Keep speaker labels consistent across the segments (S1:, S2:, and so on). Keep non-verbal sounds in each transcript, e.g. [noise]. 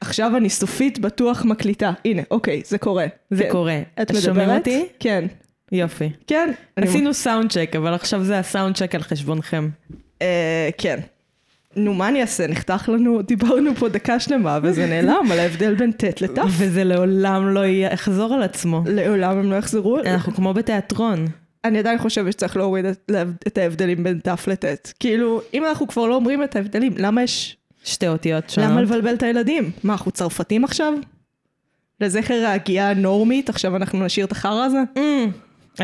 S1: עכשיו אני סופית בטוח מקליטה. הנה, אוקיי, זה קורה.
S2: זה
S1: כן.
S2: קורה.
S1: את מדברת?
S2: שומעים אותי?
S1: כן.
S2: יופי.
S1: כן. אני-
S2: עשינו סאונד צ'ק, אבל עכשיו זה הסאונד צ'ק על חשבונכם.
S1: אה, כן. נו, מה אני אעשה? נחתך לנו, דיברנו פה דקה שלמה, וזה נעלם על ההבדל בין ט' לת'.
S2: וזה לעולם לא יחזור על עצמו.
S1: לעולם הם לא יחזרו.
S2: אנחנו כמו בתיאטרון.
S1: אני עדיין חושבת שצריך להוריד את- את ההבדלים בין ת' לט'. כאילו, אם אנחנו כבר לא אומרים את ההבדלים, למה יש...
S2: שתי אותיות שונות.
S1: למה לבלבל את הילדים? מה, אנחנו צרפתים עכשיו? לזכר ההגייה הנורמית, עכשיו אנחנו נשאיר את החרא הזה?
S2: אמ,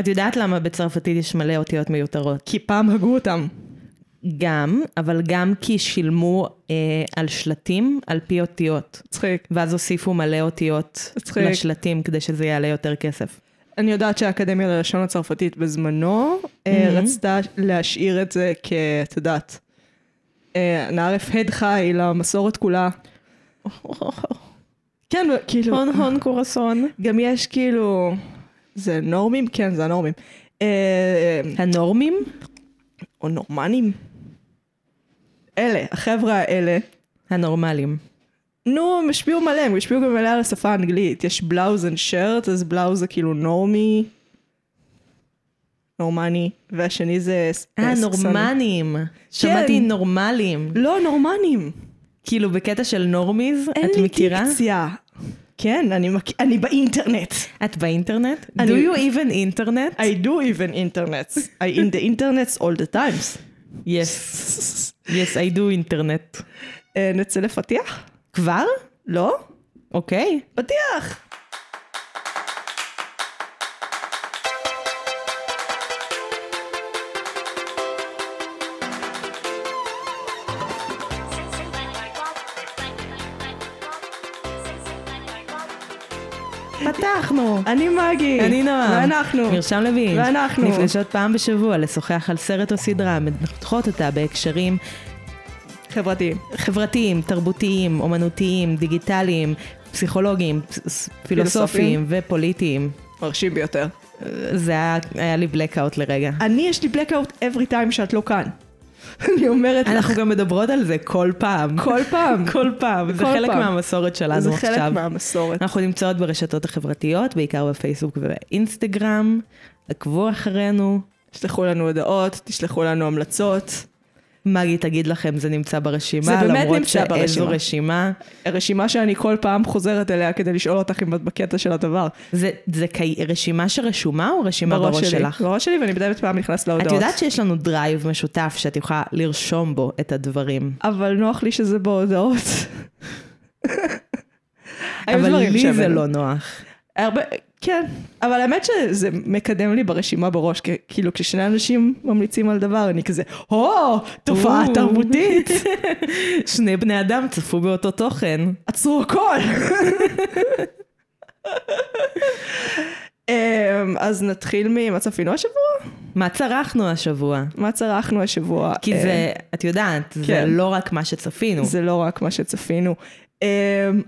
S2: את יודעת למה בצרפתית יש מלא אותיות מיותרות?
S1: כי פעם הגו אותם.
S2: גם, אבל גם כי שילמו אה, על שלטים על פי אותיות.
S1: מצחיק.
S2: ואז הוסיפו מלא אותיות
S1: מצחיק.
S2: לשלטים כדי שזה יעלה יותר כסף.
S1: אני יודעת שהאקדמיה ללשון הצרפתית בזמנו אה,
S2: Mhm.
S1: רצתה להשאיר את זה כ... את יודעת, אה, נערף הד חי למסורת
S2: [laughs]
S1: כולה. כן, כאילו,
S2: הון הון קורסון.
S1: גם יש כאילו... זה נורמים? כן, זה הנורמים. אה,
S2: הנורמים?
S1: או נורמנים? אלה, החבר'ה האלה.
S2: הנורמלים.
S1: נו, הם השפיעו מלא, הם השפיעו גם מלא על השפה האנגלית. יש בלאוז אנד שרט, אז בלאוז זה כאילו נורמי, נורמני, והשני זה... ס-
S2: אה,
S1: סקסני.
S2: נורמנים.
S1: כן.
S2: שמעתי נורמלים.
S1: לא, נורמנים.
S2: כאילו בקטע של נורמיז,
S1: אין
S2: את
S1: לי
S2: מכירה?
S1: דיקציה. כן, אני, מק... אני באינטרנט.
S2: את באינטרנט?
S1: אני-
S2: Do you even internet?
S1: I do even internet. I in the internet all the times.
S2: Yes. Yes, I do internet.
S1: אה, נצא לפתיח?
S2: כבר?
S1: לא?
S2: אוקיי.
S1: פתיח!
S2: פתחנו.
S1: אני מגי.
S2: אני נועה.
S1: ואנחנו.
S2: מרשם לוין.
S1: ואנחנו.
S2: נפגשות פעם בשבוע לשוחח על סרט או סדרה, מנחות אותה בהקשרים
S1: חברתיים.
S2: חברתיים, תרבותיים, אומנותיים, דיגיטליים, פסיכולוגיים, פס- פס- פילוסופיים ופוליטיים.
S1: מרשים ביותר.
S2: זה היה, היה לי blackout לרגע.
S1: אני, יש לי blackout every time שאת לא כאן. [laughs] אני אומרת לך.
S2: אנחנו גם מדברות על זה כל פעם.
S1: כל פעם.
S2: [laughs] כל פעם. זה
S1: כל
S2: חלק
S1: פעם.
S2: מהמסורת שלנו
S1: זה
S2: עכשיו.
S1: חלק מהמסורת.
S2: אנחנו נמצאות ברשתות החברתיות, בעיקר בפייסבוק ובאינסטגרם. עקבו אחרינו.
S1: תשלחו לנו הודעות, תשלחו לנו המלצות.
S2: מגי תגיד לכם, זה נמצא ברשימה,
S1: זה באמת
S2: למרות
S1: נמצא
S2: שאיזו
S1: ברשימה.
S2: רשימה.
S1: רשימה שאני כל פעם חוזרת אליה כדי לשאול אותך אם את בקטע של הדבר.
S2: זה, זה קי... רשימה שרשומה או רשימה בראש,
S1: בראש שלי.
S2: שלך?
S1: בראש שלי, ואני מדי פעם נכנסת להודעות.
S2: את יודעת שיש לנו דרייב משותף שאת יכולה לרשום בו את הדברים.
S1: אבל נוח לי שזה
S2: [laughs]
S1: בהודעות. היו
S2: אבל
S1: דברים
S2: לי
S1: שהם-
S2: זה לא נוח.
S1: הרבה, כן, אבל האמת שזה מקדם לי ברשימה בראש, כ- כאילו כששני אנשים ממליצים על דבר, אני כזה, הו, תופעה
S2: או.
S1: תרבותית,
S2: [laughs] שני בני אדם צפו באותו תוכן.
S1: עצרו הכל. אמ, אז נתחיל ממה צפינו השבוע?
S2: מה צרכנו השבוע?
S1: מה צרכנו השבוע?
S2: כי זה, את יודעת, זה
S1: כן.
S2: לא רק מה שצפינו.
S1: זה לא רק מה שצפינו. אמ,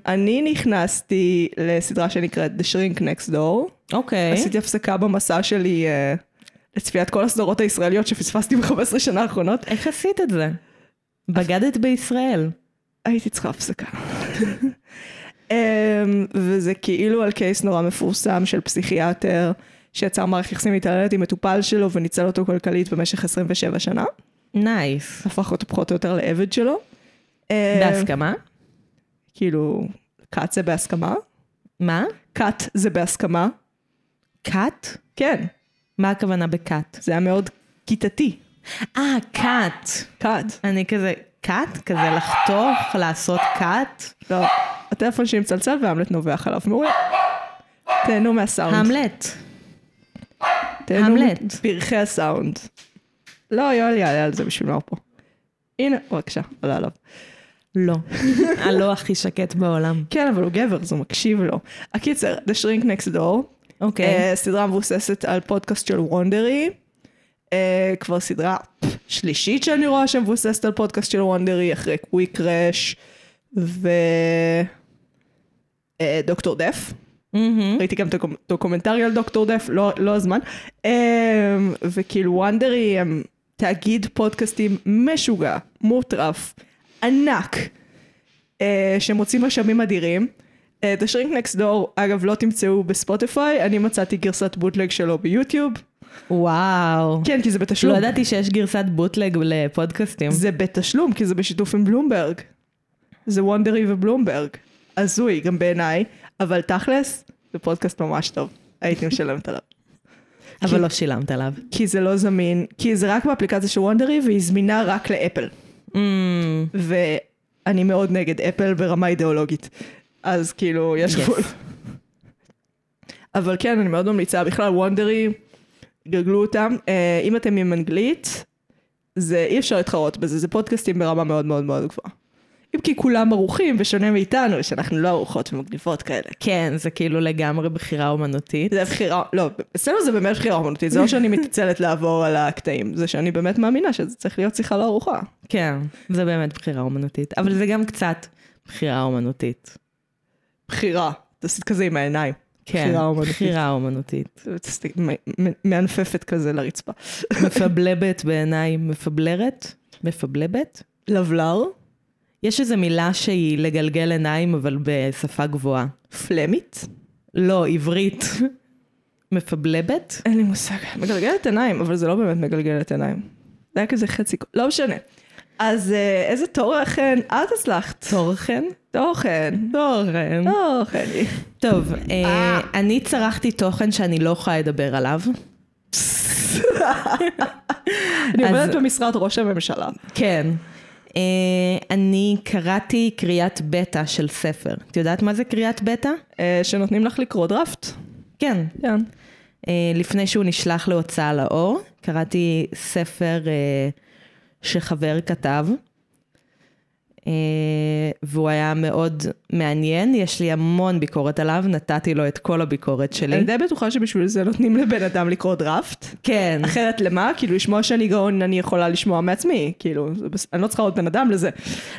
S1: אני נכנסתי לסדרה שנקראת The Shrink Next Door.
S2: אוקיי.
S1: עשיתי הפסקה במסע שלי אה, לצפיית כל הסדרות הישראליות שפספסתי ב-15 שנה האחרונות.
S2: איך עשית את זה? בגדת בישראל.
S1: הייתי צריכה הפסקה. אמ, וזה כאילו על קייס נורא מפורסם של פסיכיאטר שיצר מערכת יחסים מתעללת עם מטופל שלו וניצל אותו כלכלית במשך 27 שנה.
S2: נייס.
S1: הפך אותו פחות או יותר לעבד שלו. אמ,
S2: אה. בהסכמה?
S1: כאילו, כת זה בהסכמה.
S2: מה?
S1: כת זה בהסכמה.
S2: כת?
S1: כן,
S2: מה הכוונה בכת?
S1: זה היה מאוד כיתתי.
S2: אה, כת.
S1: כת.
S2: אני כזה, כת? כזה לחתוך, לעשות כת?
S1: לא, הטלפון שלי מצלצל והמלט נובח עליו. מעולה. תהנו מהסאונד.
S2: המלט.
S1: תהנו
S2: המלט.
S1: מפרחי הסאונד. לא, יואל יעלה על זה בשביל מה הוא פה. הנה, בבקשה, עלה עליו.
S2: [laughs] לא. הלא הכי שקט בעולם.
S1: כן, אבל הוא גבר, אז הוא מקשיב לו. הקיצר, The Shrink Next Door,
S2: אוקיי.
S1: אה, סדרה מבוססת על פודקאסט של וונדרי. אה, כבר סדרה שלישית שאני רואה שמבוססת על פודקאסט של וונדרי, אחרי קוויק רש ודוקטור אה, דף.
S2: מהמם.
S1: ראיתי גם דוקו- דוקומנטרי על דוקטור דף, לא, לא הזמן. אמ, וכאילו וונדרי הם תאגיד פודקאסטים משוגע, מוטרף, ענק, אה, שמוציא משאבים אדירים. אה, The Shrink Next Door, אגב, לא תמצאו בספוטיפיי, אני מצאתי גרסת בוטלג שלו ביוטיוב.
S2: וואו.
S1: כן, כי זה בתשלום.
S2: לא ידעתי שיש גרסת בוטלג לפודקאסטים.
S1: זה בתשלום, כי זה בשיתוף עם בלומברג. זה וונדרי ובלומברג. הזוי, גם בעיניי, אבל תכלס, זה פודקאסט ממש טוב. הייתי משלמת עליו.
S2: אבל לא שילמת עליו.
S1: כי זה לא זמין, כי זה רק באפליקציה של וונדרי, והיא זמינה רק לאפל.
S2: אמ,
S1: ואני מאוד נגד אפל ברמה אידיאולוגית. אז כאילו, יש
S2: Yes.
S1: גבול. אבל כן, אני מאוד ממליצה. בכלל, וונדרי, גגלו אותם. אה, אם אתם עם אנגלית, זה אי אפשר להתחרות בזה, זה פודקאסטים ברמה מאוד מאוד מאוד גבוהה. אם כי כולם ערוכים, בשונה מאיתנו, שאנחנו לא ערוכות ומגניבות כאלה.
S2: כן, זה כאילו לגמרי בחירה אומנותית.
S1: זה בחירה, לא, אצלנו זה באמת בחירה אומנותית, זה לא שאני מתעצלת לעבור על הקטעים, זה שאני באמת מאמינה שזה צריך להיות שיחה לארוחה.
S2: כן, זה באמת בחירה אומנותית. אבל זה גם קצת בחירה אומנותית.
S1: בחירה, תעשי כזה עם העיניים.
S2: כן,
S1: בחירה אומנותית.
S2: בחירה אומנותית.
S1: תעשי- מ- מ- מענפפת כזה לרצפה.
S2: מפבלבת בעיניים, מפבלרת? מפבלבת?
S1: לבלר,
S2: יש איזו מילה שהיא לגלגל עיניים, אבל בשפה גבוהה.
S1: פלמית.
S2: לא, עברית. מפבלבת?
S1: אין לי מושג. מגלגלת עיניים, אבל זה לא באמת מגלגלת עיניים. זה היה כזה חצי, לא משנה. אז אה, איזה תורן את הצלחת?
S2: תורחן?
S1: תוכן.
S2: תורחן.
S1: תוכן. [laughs]
S2: טוב, אה, אני צרכתי תוכן שאני לא יכולה לדבר עליו.
S1: אני
S2: אז-
S1: עובדת במשרד ראש הממשלה.
S2: כן. אה, אני קראתי קריאת בטא של ספר. את יודעת מה זה קריאת בטא?
S1: אה, שנותנים לך לקרוא דראפט.
S2: כן.
S1: כן.
S2: אה, לפני שהוא נשלח להוצאה לאור, קראתי ספר אה, שחבר כתב, אה, והוא היה מאוד מעניין, יש לי המון ביקורת עליו, נתתי לו את כל הביקורת שלי.
S1: אני די בטוחה שבשביל זה נותנים לבן אדם לקרוא דראפט.
S2: כן,
S1: אחרת למה? כאילו, לשמוע שאני גאון אני יכולה לשמוע מעצמי. כאילו, זה בס- אני לא צריכה עוד בן אדם לזה.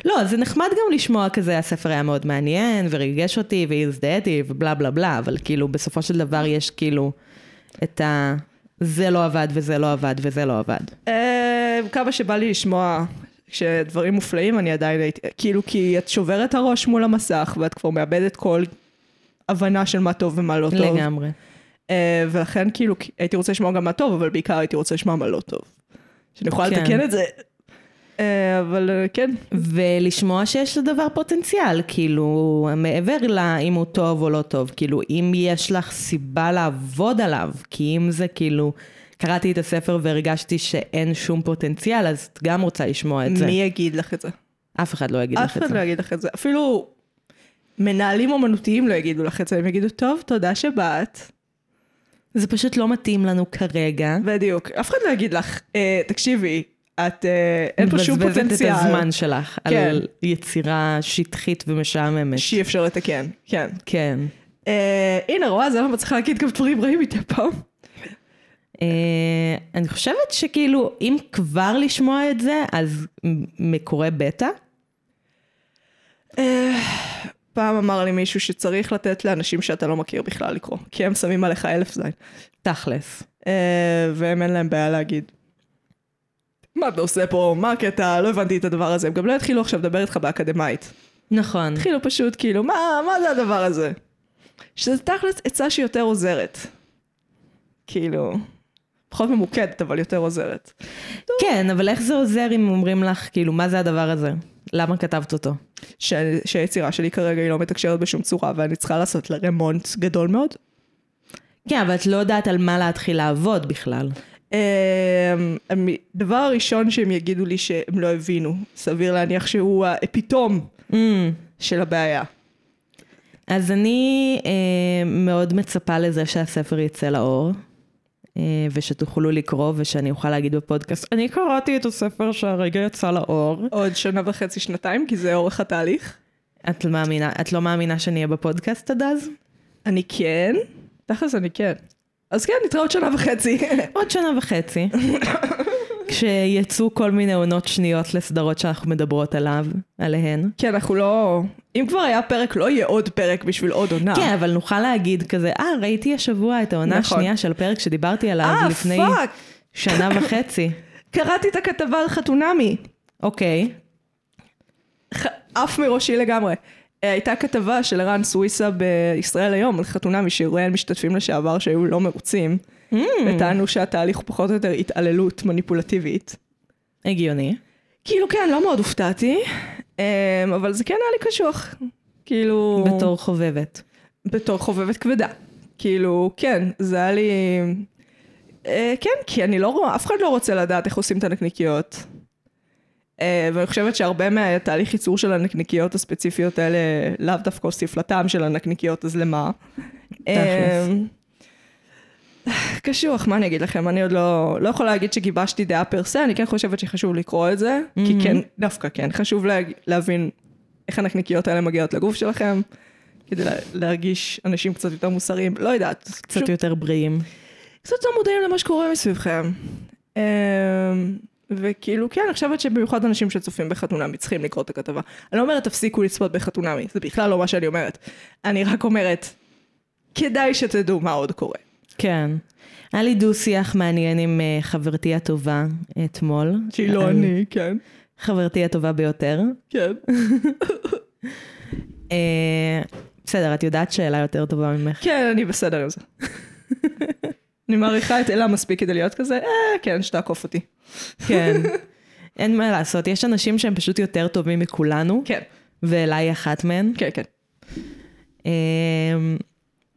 S2: לא, זה נחמד גם לשמוע כזה, הספר היה מאוד מעניין, וריגש אותי, והזדהיתי, ובלה בלה בלה, אבל כאילו, בסופו של דבר יש כאילו את ה... זה לא עבד, וזה לא עבד, וזה לא עבד.
S1: אה, כמה שבא לי לשמוע שדברים מופלאים, אני עדיין הייתי... כאילו, כי את שוברת הראש מול המסך, ואת כבר מאבדת כל הבנה של מה טוב ומה לא טוב.
S2: לגמרי.
S1: אה, ולכן, כאילו, הייתי רוצה לשמוע גם מה טוב, אבל בעיקר הייתי רוצה לשמוע מה לא טוב. שאני יכולה
S2: כן.
S1: לתקן את זה. אה, אבל אה, כן,
S2: ולשמוע שיש לדבר פוטנציאל, כאילו, מעבר לאם הוא טוב או לא טוב, כאילו, אם יש לך סיבה לעבוד עליו, כי אם זה כאילו, קראתי את הספר והרגשתי שאין שום פוטנציאל, אז את גם רוצה לשמוע את זה.
S1: מי יגיד לך את זה?
S2: אף אחד לא יגיד
S1: אף
S2: לך את
S1: אחד לא
S2: זה.
S1: יגיד לך את זה. אפילו מנהלים אומנותיים לא יגידו לך את זה, הם יגידו, טוב, תודה שבאת.
S2: זה פשוט לא מתאים לנו כרגע.
S1: בדיוק. אף אחד לא יגיד לך, "אה, תקשיבי, את... אה, אין פה שום פוטנציאל.
S2: מבזבזת את הזמן שלך
S1: כן.
S2: על יצירה שטחית ומשעממת.
S1: שאי אפשר לתקן, כן.
S2: כן.
S1: אה, הנה, רואה, זה למה צריכה להגיד גם דברים רעים מדי פעם.
S2: אה, אני חושבת שכאילו, אם כבר לשמוע את זה, אז מ- מקורא בטא.
S1: אה, פעם אמר לי מישהו שצריך לתת לאנשים שאתה לא מכיר בכלל לקרוא, כי הם שמים עליך אלף זין.
S2: תכלס.
S1: אה, והם אין להם בעיה להגיד. מה אתה עושה פה? מה הקטע? לא הבנתי את הדבר הזה. הם גם לא יתחילו עכשיו לדבר איתך באקדמאית.
S2: נכון.
S1: התחילו פשוט כאילו, מה, מה זה הדבר הזה? שזה תכלס עצה שיותר עוזרת. כאילו, פחות ממוקדת, אבל יותר עוזרת.
S2: כן, אבל איך זה עוזר אם אומרים לך, כאילו, מה זה הדבר הזה? למה כתבת אותו?
S1: ש... שהיצירה שלי כרגע היא לא מתקשרת בשום צורה, ואני צריכה לעשות לה רמונט גדול מאוד.
S2: כן, אבל את לא יודעת על מה להתחיל לעבוד בכלל.
S1: אמ, הם- דבר הראשון שהם יגידו לי שהם לא הבינו, סביר להניח שהוא האפיתום
S2: אמ,
S1: של הבעיה.
S2: אז אני אה, מאוד מצפה לזה שהספר יצא לאור, אה, ושתוכלו לקרוא, ושאני אוכל להגיד בפודקאסט, אני קראתי את הספר שהרגע יצא לאור.
S1: עוד שנה וחצי, שנתיים, כי זה אורך התהליך.
S2: את לא מאמינה, את לא מאמינה שאני אהיה בפודקאסט עד אז?
S1: אני כן, תכלס אני כן. אז כן, נתראה עוד שנה וחצי. [laughs]
S2: עוד שנה [coughs] וחצי. כשיצאו כל מיני עונות שניות לסדרות שאנחנו מדברות עליו, עליהן.
S1: כן, אנחנו לא... אם כבר היה פרק, לא יהיה עוד פרק בשביל עוד עונה.
S2: כן, אבל נוכל להגיד כזה, אה, ראיתי השבוע את העונה
S1: נכון.
S2: השנייה של הפרק שדיברתי עליו
S1: אה,
S2: לפני
S1: פאק!
S2: שנה וחצי.
S1: קראתי את הכתבה על חתונמי.
S2: אוקיי.
S1: ח- עף מראשי לגמרי. אה, הייתה כתבה של ערן סוויסה בישראל היום על חתונה משירי משתתפים לשעבר שהיו לא מרוצים,
S2: Hmm.
S1: וטענו שהתהליך הוא פחות או יותר התעללות מניפולטיבית.
S2: הגיוני.
S1: כאילו כן, לא מאוד הופתעתי, אמ, אבל זה כן היה לי קשוח. כאילו...
S2: בתור חובבת.
S1: בתור חובבת כבדה. כאילו, כן, זה היה לי... אה, כן, כי אני לא רואה, אף אחד לא רוצה לדעת איך עושים את הנקניקיות. אה, ואני חושבת שהרבה מהתהליך ייצור של הנקניקיות הספציפיות האלה לאו דווקא הוסיף לטעם של הנקניקיות, אז למה?
S2: תכלס.
S1: אה, קשוח, מה אני אגיד לכם? אני עוד לא, לא יכולה להגיד שגיבשתי דעה פר סה, אני כן חושבת שחשוב לקרוא את זה, כי
S2: Mhm.
S1: כן, דווקא כן, חשוב לה, להבין איך הנקניקיות האלה מגיעות לגוף שלכם, כדי לה, להרגיש אנשים קצת יותר מוסריים, לא יודעת.
S2: קצת יותר בריאים.
S1: קצת לא מודעים למה שקורה מסביבכם. אמ, וכאילו, כן, אני חושבת שבמיוחד אנשים שצופים בחתונמי צריכים לקרוא את הכתבה. אני לא אומרת תפסיקו לצפות בחתונמי, זה בכלל לא מה שאני אומרת. אני רק אומרת, כדאי שתדעו מה עוד קורה.
S2: כן. היה לי דו-שיח מעניין עם אה, חברתי הטובה אתמול.
S1: שהיא לא
S2: על-
S1: אני, כן,
S2: חברתי הטובה ביותר.
S1: כן.
S2: אה, בסדר, את יודעת שאלה יותר טובה ממך.
S1: כן, אני בסדר עם זה. [laughs] אני מעריכה את אלה מספיק כדי להיות כזה, אה, כן, שתעקוף אותי.
S2: כן. אין מה לעשות, יש אנשים שהם פשוט יותר טובים מכולנו,
S1: כן,
S2: ואלה היא אחת מהן.
S1: כן, כן.
S2: אמ,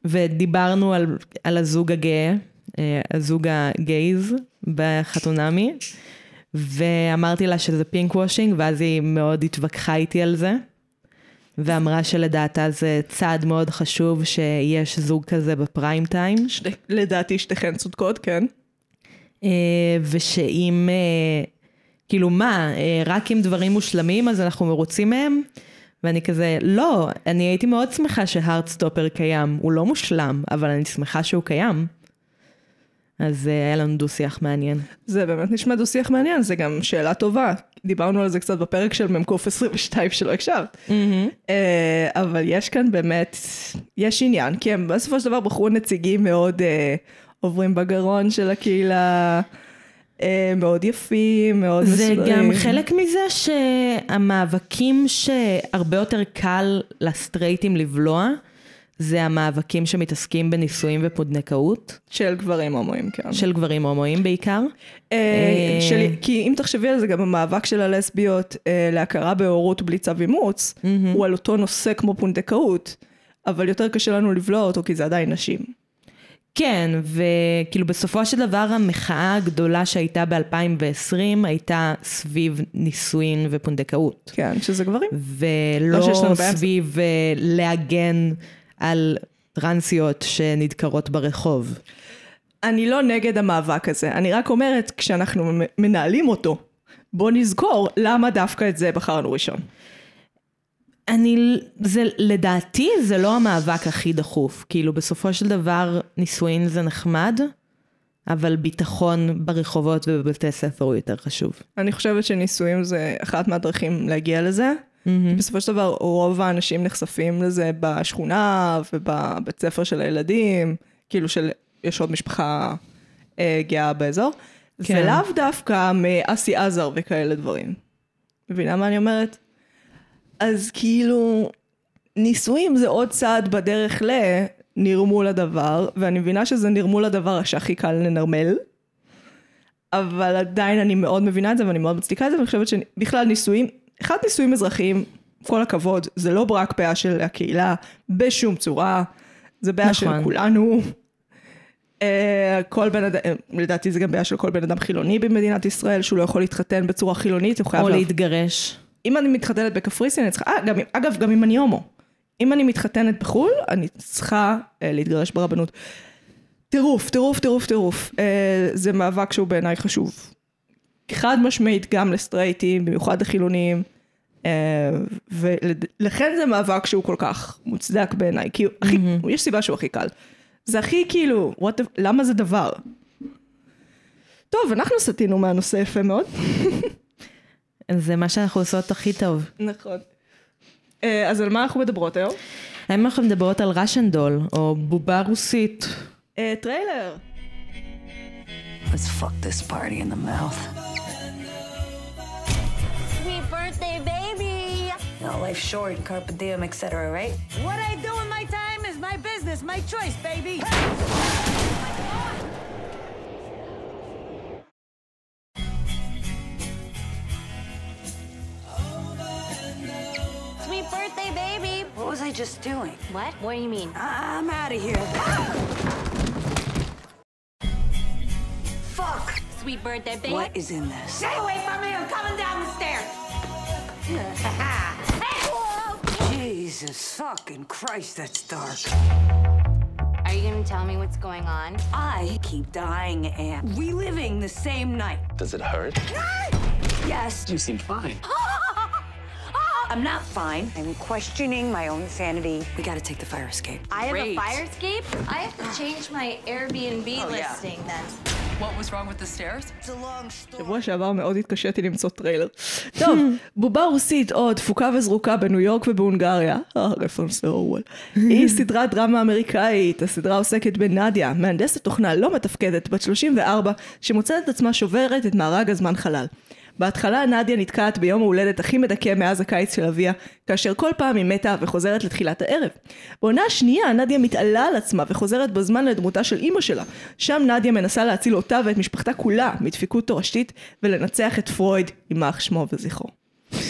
S2: ודיברנו על, על הזוג הגאה, אה, הזוג הגייז בחתונמי, ואמרתי לה שזה פינק וושינג, ואז היא מאוד התווכחה איתי על זה, ואמרה שלדעתה זה צעד מאוד חשוב שיש זוג כזה בפריים טיים,
S1: שתי- לדעתי שתיכן צודקות, כן.
S2: אה, ושאם, אה, כאילו מה, אה, רק אם דברים מושלמים אז אנחנו מרוצים מהם? ואני כזה, לא, אני הייתי מאוד שמחה שהארדסטופר קיים, הוא לא מושלם, אבל אני שמחה שהוא קיים. אז אה, היה לנו דו-שיח מעניין.
S1: זה באמת נשמע דו שיח מעניין, זה גם שאלה טובה. דיברנו על זה קצת בפרק של מ"ק 22 שלא הקשבת. אה, אבל יש כאן באמת, יש עניין, כי הם בסופו של דבר בחרו נציגים מאוד אה, עוברים בגרון של הקהילה, אה, מאוד יפים, מאוד
S2: זה
S1: מסודרים.
S2: גם חלק מזה שהמאבקים שהרבה יותר קל לסטרייטים לבלוע, זה המאבקים שמתעסקים בנישואים ופונדקאות,
S1: של גברים הומואים, כן.
S2: של גברים הומואים בעיקר.
S1: אה,
S2: אה,
S1: של... כי אם תחשבי על זה, גם המאבק של הלסביות אה, להכרה בהורות בלי צו אימוץ, הוא על אותו נושא כמו פונדקאות, אבל יותר קשה לנו לבלוע אותו כי זה עדיין נשים.
S2: כן, וכאילו בסופו של דבר המחאה הגדולה שהייתה ב-2020 הייתה סביב נישואין ופונדקאות.
S1: כן, שזה גברים.
S2: ולא
S1: לא שיש לנו בעיה עם זה.
S2: סביב uh, להגן על טרנסיות שנדקרות ברחוב.
S1: אני לא נגד המאבק הזה, אני רק אומרת, כשאנחנו מ- מנהלים אותו, בוא נזכור למה דווקא את זה בחרנו ראשון.
S2: אני, זה, לדעתי זה לא המאבק הכי דחוף. כאילו בסופו של דבר נישואין זה נחמד, אבל ביטחון ברחובות ובבתי ספר הוא יותר חשוב.
S1: אני חושבת שנישואים זה אחת מהדרכים להגיע לזה.
S2: Mm-hmm.
S1: בסופו של דבר, רוב האנשים נחשפים לזה בשכונה ובבית ספר של הילדים, כאילו של, יש עוד משפחה אה, גאה באזור,
S2: כן.
S1: כן. ולאו דווקא מאסי עזר וכאלה דברים. מבינה מה אני אומרת? אז כאילו, נישואים זה עוד צעד בדרך לנרמול הדבר, ואני מבינה שזה נרמול הדבר שהכי קל לנרמל, אבל עדיין אני מאוד מבינה את זה ואני מאוד מצדיקה את זה, ואני חושבת שבכלל נישואים, אחד נישואים אזרחיים, כל הכבוד, זה לא רק בעיה של הקהילה בשום צורה, זה בעיה נכון.
S2: נכון.
S1: של כולנו. אה, כל בן אדם, אה, לדעתי זה גם בעיה של כל בן אדם חילוני במדינת ישראל, שהוא לא יכול להתחתן בצורה חילונית, הוא חייב
S2: או
S1: לעבור
S2: להתגרש. אם...
S1: אם אני מתחתנת בקפריסין, אני צריכה, אה, גם, אם- אגב, גם אם אני הומו. אם אני מתחתנת בחו"ל, אני צריכה אה, להתגרש ברבנות. טירוף, טירוף, טירוף, טירוף. אה, זה מאבק שהוא בעיניי חשוב. חד משמעית גם לסטרייטים, במיוחד לחילונים, אה, ולכן זה מאבק שהוא כל כך מוצדק בעיניי, כי הוא הכי, mm-hmm. יש סיבה שהוא הכי קל. זה הכי כאילו, what the, למה זה דבר? טוב, אנחנו סטינו מהנושא יפה מאוד.
S2: זה מה שאנחנו עושות הכי טוב.
S1: נכון. אה, אז על מה אנחנו מדברות היום?
S2: האם אנחנו מדברות על ראשן דול, או בובה רוסית?
S1: אה, טריילר.
S3: Let's fuck this party in the mouth.
S4: Happy birthday, baby!
S3: No, life short, carpe diem, etc., right?
S4: What I do in my time is my business, my choice, baby.
S5: Sweet birthday, baby.
S3: What was I just doing?
S5: What? What do you mean?
S3: I- I'm out of here. Fuck!
S5: Sweet birthday, baby.
S3: What is in this?
S4: Stay away from me, I'm coming down the
S3: [laughs]
S4: stairs.
S3: Jesus fucking Christ, that's dark.
S5: Are you gonna tell me what's going on?
S3: I keep dying and reliving the same night.
S6: Does it hurt?
S3: [laughs] Yes,
S6: You seem fine.
S3: [laughs] I'm not fine. I'm questioning my own sanity. We gotta take the fire escape.
S5: I have
S3: Great.
S5: a fire escape. I have to change my Airbnb Oh, listing then.
S7: What was wrong with the stairs?
S1: שבוע שעבר מאוד התקשיתי למצוא טריילר. [laughs] טוב, בובה רוסית או דפוקה וזרוקה בניו יורק ובהונגריה, אה, רפרנס לאורוול, [laughs] היא סדרת דרמה אמריקאית. הסדרה עוסקת בנדיה, מהנדסת תוכנה לא מתפקדת, בת 34, שמוצאת את עצמה שוברת את מארג הזמן חלל. בהתחלה נדיה נתקעת ביום ההולדת הכי מדכא מאז הקיץ של אביה, כאשר כל פעם היא מתה וחוזרת לתחילת הערב. בעונה השנייה נדיה מתעלה על עצמה וחוזרת בזמן לדמותה של אימא שלה. שם נדיה מנסה להציל אותה ואת משפחתה כולה מדפיקות תורשתית ולנצח את פרויד, יימח שמו וזכרו.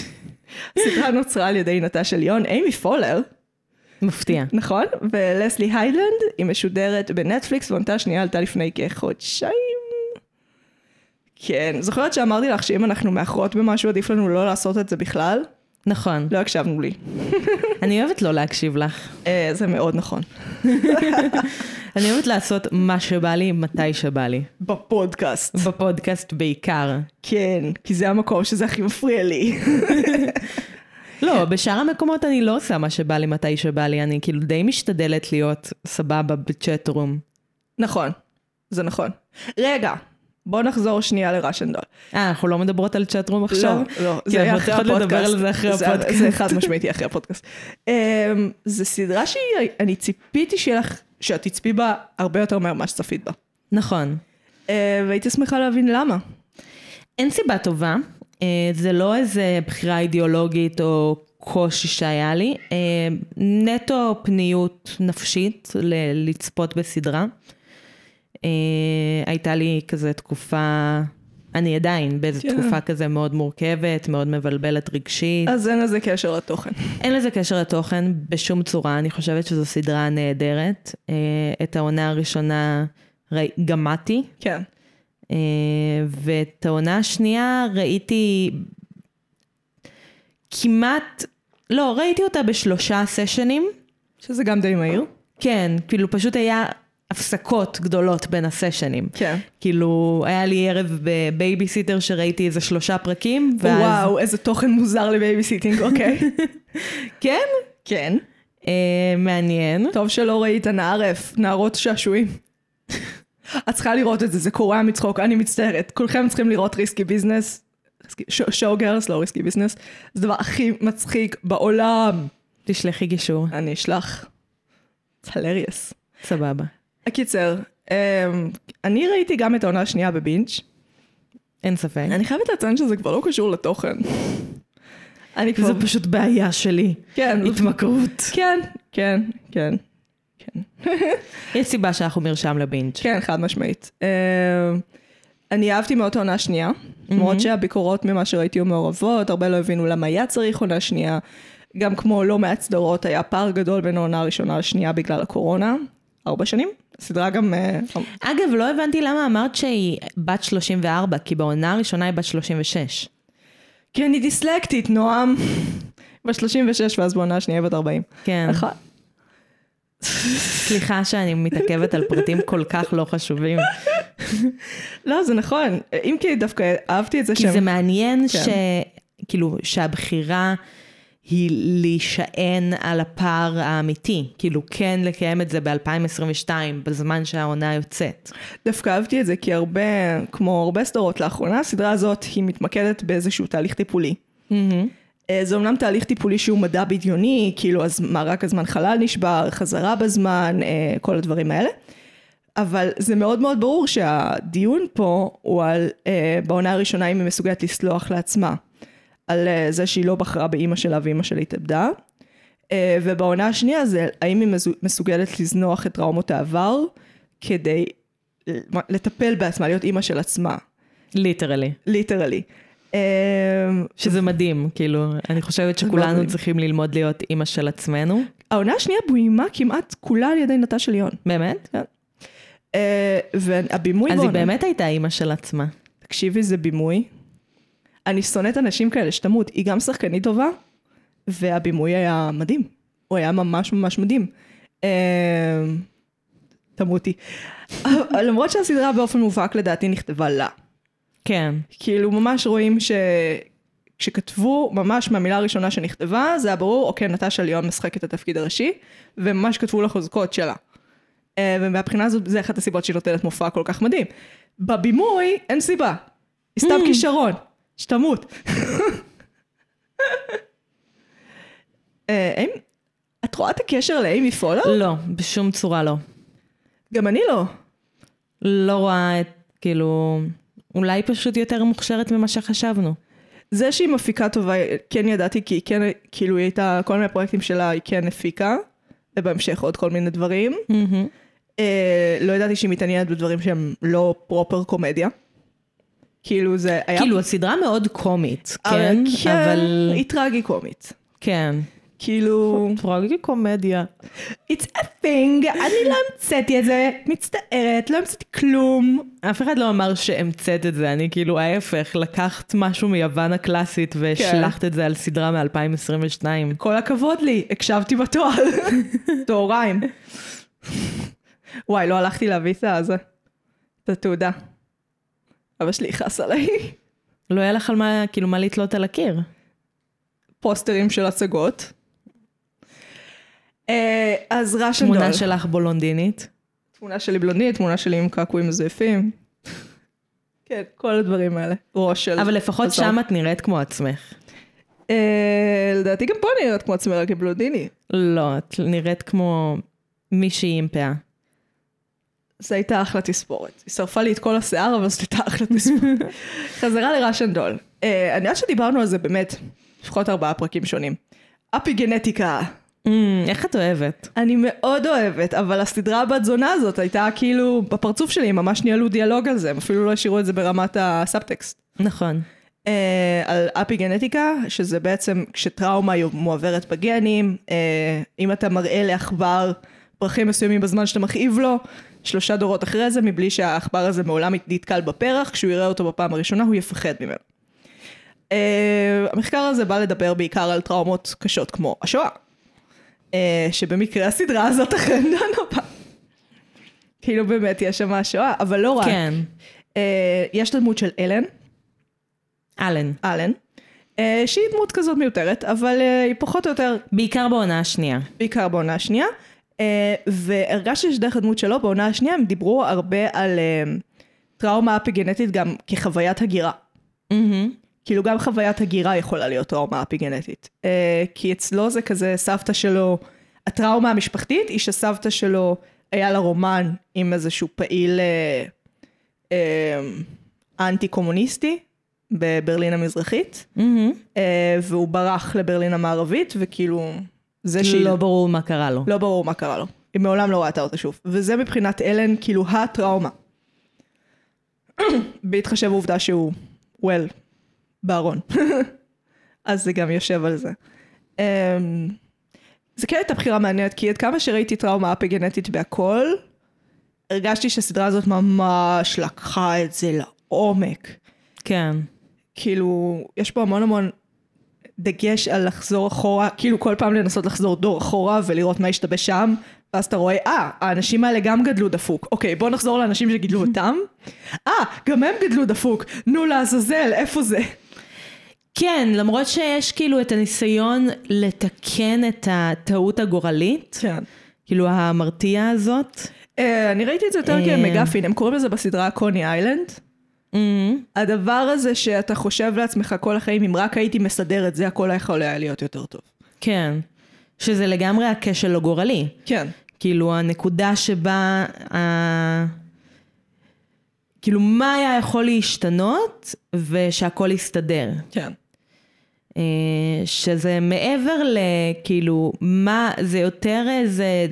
S1: [laughs] הסדרה נוצרה על ידי נטשה ליון, אימי פולר,
S2: מפתיע.
S1: נכון? ולסלי היידלנד, היא משודרת בנטפליקס, ועונתה השנייה עלתה לפני כחודשיים. כן, זוכרת שאמרתי לך שאם אנחנו מאחרות במשהו עדיף לנו לא לעשות את זה בכלל?
S2: נכון.
S1: לא הקשבנו לי.
S2: אני אוהבת לא להקשיב לך.
S1: אה, זה מאוד נכון.
S2: אני אוהבת לעשות מה שבא לי, מתי שבא לי.
S1: בפודקאסט.
S2: בפודקאסט בעיקר.
S1: כן, כי זה המקום שזה הכי מפריע לי. [laughs]
S2: לא, בשאר המקומות אני לא עושה מה שבא לי, מתי שבא לי. אני כאילו די משתדלת להיות סבבה בצ'אט רום.
S1: נכון, זה נכון. רגע, בוא נחזור שנייה לראשנדול.
S2: אה, אנחנו לא מדברות על צ'אט רום עכשיו?
S1: לא, לא,
S2: כי אנחנו צריכות לדבר על זה אחרי הפודקאסט.
S1: זה חד משמעית יהיה אחרי הפודקאסט. אמ, זו סדרה שאני ציפיתי שיהיה לך, שאת תצפי בה הרבה יותר מהר ממה שצפית בה.
S2: נכון.
S1: אה, והייתי שמחה להבין למה.
S2: אין סיבה טובה, אה, זה לא איזה בחירה אידיאולוגית או קושי שהיה לי, אה, נטו פניות נפשית ל- לצפות בסדרה. אה, הייתה לי כזה תקופה, אני עדיין באיזו
S1: כן. אה.
S2: תקופה כזה מאוד מורכבת, מאוד מבלבלת רגשית.
S1: אז אין לזה קשר לתוכן.
S2: אין לזה קשר לתוכן בשום צורה, אני חושבת שזו סדרה נהדרת. אה, את העונה הראשונה ראי- גמעתי,
S1: כן.
S2: אה, ואת העונה השנייה ראיתי כמעט, לא, ראיתי אותה בשלושה סשנים.
S1: שזה גם די מהיר.
S2: כן, כאילו פשוט היה הפסקות גדולות בין הסשנים.
S1: כן.
S2: כאילו, היה לי ערב בבייביסיטר שראיתי איזה שלושה פרקים, ואז...
S1: וואו, איזה תוכן מוזר לבייביסיטינג, אוקיי.
S2: כן?
S1: [laughs] כן.
S2: אה, מעניין.
S1: טוב שלא ראית נערף, נערות שעשועים. את צריכה לראות את זה, זה קורע מצחוק, אני מצטערת. כולכם צריכים לראות ריסקי ביזנס, שואו גרס, לא ריסקי ביזנס, זה הדבר הכי מצחיק בעולם.
S2: תשלחי גישור,
S1: אני אשלח. זה הלריאס.
S2: סבבה.
S1: הקיצר, אמ, אני ראיתי גם את העונה השנייה בבינג'.
S2: אין ספק.
S1: אני חייבת לציין שזה כבר לא קשור לתוכן. אני כבר...
S2: זו פשוט בעיה שלי.
S1: כן, זה-
S2: התמכרות.
S1: כן, כן, כן, כן.
S2: יש סיבה שאנחנו מרשם לבינג'.
S1: כן, חד משמעית. אה, אני אהבתי מאוד את העונה השנייה, למרות שהביקורות ממה שראיתי היו מעורבות, הרבה לא הבינו למה היה צריך עונה שנייה. גם כמו לא מעט סדרות, היה פער גדול בין העונה הראשונה לשנייה בגלל הקורונה, ארבע שנים. הסדרה גם... אה,
S2: אגב, לא הבנתי למה אמרת שהיא בת 34, כי בעונה הראשונה היא בת 36.
S1: כן, היא דיסלקטית, נועם. [laughs] ב-36 ואז בעונה השנייה בת 40.
S2: כן.
S1: נכון.
S2: סליחה שאני מתעכבת על פרטים כל כך לא [laughs] חשובים.
S1: לא, זה נכון. אם כי דווקא אהבתי את זה
S2: כי
S1: שהם...
S2: זה מעניין
S1: כן.
S2: ש... כאילו, שהבחירה היא להישען על הפער האמיתי. כאילו, כן לקיים את זה ב-2022, בזמן שהעונה יוצאת.
S1: דווקא אהבתי את זה כי הרבה, כמו הרבה סדרות לאחרונה, הסדרה הזאת היא מתמקדת באיזשהו תהליך טיפולי. אה, זה אומנם תהליך טיפולי שהוא מדע בדיוני, כאילו אז מארק הזמן חלל נשבר, חזרה בזמן, אה, כל הדברים האלה. אבל זה מאוד מאוד ברור שהדיון פה הוא על, אה, בעונה הראשונה אם היא מסוגלת לסלוח לעצמה. על אה, זה שהיא לא בחרה באימא שלה ואימא שלה התאבדה. אה, ובעונה השנייה זה האם היא מזו- מסוגלת לזנוח את טראומות העבר כדי אה, לטפל בעצמה, להיות אימא של עצמה,
S2: ליטרלי.
S1: ליטרלי. אה,
S2: שזה מדהים, כאילו, אני חושבת
S1: מדהים.
S2: שכולנו צריכים ללמוד להיות אימא של עצמנו.
S1: העונה השנייה בוימה כמעט כולה על ידי נטשה ליון.
S2: באמת? כן.
S1: אה, והבימוי...
S2: אז היא
S1: בעונה-
S2: באמת הייתה אימא של עצמה.
S1: תקשיבי, זה בימוי. אני שונאת אנשים כאלה, שתמות. היא גם שחקנית טובה, והבימוי היה מדהים. הוא היה ממש ממש מדהים. אמ, תמותי. אה, למרות שהסדרה באופן מובהק לדעתי נכתבה לה.
S2: כן.
S1: כאילו ממש רואים ש... כשכתבו, ממש מהמילה הראשונה שנכתבה, זה היה ברור, אוקיי, נטשה ליאון משחקת את התפקיד הראשי, וממש כתבו לה חוזקות שלה. אה, ומהבחינה הזאת, זה אחת הסיבות שהיא נותנת מופע כל כך מדהים. בבימוי, אין סיבה. היא סתם כישרון. שתמות. אה, האם- את רואה את הקשר לאימי פולר?
S2: לא, בשום צורה לא.
S1: גם אני לא.
S2: לא רואה את, כאילו, אולי פשוט יותר מוכשרת ממה שחשבנו.
S1: זה שהיא מפיקה טובה, כן ידעתי, כי היא כן, כאילו היא הייתה, כל מיני פרויקטים שלה היא כן הפיקה, ובהמשך עוד כל מיני דברים. אה, לא ידעתי שהיא מתעניינת בדברים שהם לא פרופר קומדיה. כאילו זה היה...
S2: כאילו, הסדרה מאוד קומית,
S1: אבל-
S2: כן? אבל...
S1: היא טרגי קומית.
S2: כן.
S1: כאילו...
S2: טרגי קומדיה.
S1: It's a thing, אני לא המצאתי את זה, מצטערת, לא המצאתי כלום.
S2: אף אחד לא אמר שהמצאת את זה, אני כאילו ההפך, לקחת משהו מיוון הקלאסית והשלכת את זה על סדרה מ-2022.
S1: כן. כל הכבוד לי, הקשבתי בתואר. תהריים. וואי, לא הלכתי להביא את הזה. את התעודה. אבא שלי יכעס עליי.
S2: לא היה לך על מה, כאילו, מה לתלות על הקיר.
S1: פוסטרים של הצגות. אה, אז ראשן דול.
S2: תמונה שלך בולונדינית.
S1: תמונה שלי בלונית, תמונה שלי עם קעקועים מזויפים. כן, כל הדברים האלה. ראש של...
S2: אבל לפחות
S1: עזוב.
S2: שם את נראית כמו עצמך.
S1: אה, לדעתי גם פה אני נראית כמו עצמי, רק עם בלונדיני.
S2: לא, את נראית כמו מישהי עם פאה.
S1: זו הייתה אחלה תספורת. היא שרפה לי את כל השיער, אבל זאת הייתה אחלה תספורת. חזרה לראשנדול. Uh, אני יודעת שדיברנו על זה באמת, לפחות ארבעה פרקים שונים. אפי גנטיקה,
S2: אמ, איך את אוהבת?
S1: אני מאוד אוהבת, אבל הסדרה הבת זונה הזאת הייתה כאילו, בפרצוף שלי הם ממש ניהלו דיאלוג על זה, הם אפילו לא השאירו את זה ברמת הסאבטקסט.
S2: נכון.
S1: אה, על אפיגנטיקה, שזה בעצם כשטראומה היא מועברת בגנים, אה, אם אתה מראה לעכבר פרחים מסוימים בזמן שאתה מכאיב לו, שלושה דורות אחרי זה, מבלי שהעכבר הזה מעולם נתקל בפרח, כשהוא יראה אותו בפעם הראשונה הוא יפחד ממנו. אה, המחקר הזה בא לדבר בעיקר על טראומות קשות כמו השואה, אה, שבמקרה הסדרה הזאת אכן דנה בה. כאילו באמת יש שם השואה, אבל לא רק.
S2: כן.
S1: אה, יש דמות של אלן,
S2: אלן.
S1: אלן, אה, שהיא דמות כזאת מיותרת, אבל אה, היא פחות או יותר
S2: בעיקר בעונה השנייה.
S1: בעיקר בעונה השנייה, אה, והרגשתי שדרך הדמות שלו בעונה השנייה הם דיברו הרבה על אה, טראומה אפיגנטית גם כחוויית הגירה. כאילו גם חוויית הגירה יכולה להיות טראומה אפיגנטית. אה, כי אצלו זה כזה סבתא שלו, הטראומה המשפחתית היא שסבתא שלו היה לה רומן עם איזשהו פעיל אה, אה, אנטי קומוניסטי בברלין המזרחית, אה, והוא ברח לברלין המערבית וכאילו זה שהיא...
S2: לא ברור מה קרה לו.
S1: לא ברור מה קרה לו. היא מעולם לא ראתה אותה שוב. וזה מבחינת אלן, כאילו, הטראומה. [clears throat] בהתחשב בעובדה שהוא, well, בארון. [laughs] אז זה גם יושב על זה. Um, זה כן הייתה בחירה מעניינת, כי עד כמה שראיתי טראומה אפגנטית בהכל, הרגשתי שהסדרה הזאת ממש לקחה את זה לעומק.
S2: כן.
S1: כאילו, יש פה המון המון דגש על לחזור אחורה, כאילו כל פעם לנסות לחזור דור אחורה ולראות מה השתבש שם, ואז אתה רואה, אה, האנשים האלה גם גדלו דפוק. אוקיי, בוא נחזור לאנשים שגידלו [laughs] אותם. אה, גם הם גדלו דפוק. נו לעזאזל, איפה זה?
S2: כן, למרות שיש כאילו את הניסיון לתקן את הטעות הגורלית,
S1: כן.
S2: כאילו המרתיעה הזאת.
S1: אה, אני ראיתי את זה יותר
S2: אה.
S1: כמגפין, הם קוראים לזה בסדרה קוני איילנד. Mm-hmm. הדבר הזה שאתה חושב לעצמך כל החיים, אם רק הייתי מסדר את זה, הכל היה יכול היה להיות יותר טוב.
S2: כן. שזה לגמרי הכשל הגורלי.
S1: כן.
S2: כאילו הנקודה שבה, ה... כאילו מה היה יכול להשתנות ושהכל יסתדר.
S1: כן.
S2: אה, שזה מעבר לכאילו, מה, זה יותר איזה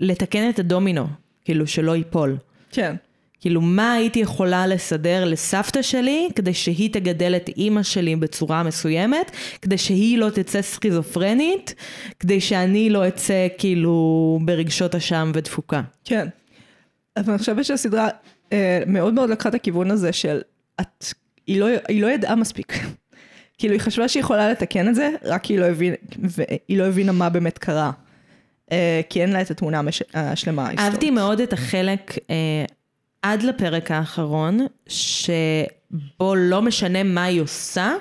S2: לתקן את הדומינו, כאילו שלא ייפול.
S1: כן.
S2: כאילו, מה הייתי יכולה לסדר לסבתא שלי כדי שהיא תגדל את אימא שלי בצורה מסוימת, כדי שהיא לא תצא סכיזופרנית, כדי שאני לא אצא כאילו ברגשות אשם ותפוקה.
S1: כן. אבל אני חושבת שהסדרה אה, מאוד מאוד לקחה את הכיוון הזה של את, היא לא, היא לא ידעה מספיק. [laughs] כאילו היא חשבה שהיא יכולה לתקן את זה, רק היא לא, הבין, והיא לא הבינה מה באמת קרה. אה, כי אין לה את התמונה המש, השלמה.
S2: אהבתי
S1: ההיסטורית.
S2: מאוד את החלק אה, עד לפרק האחרון, שבו לא משנה מה היא עושה,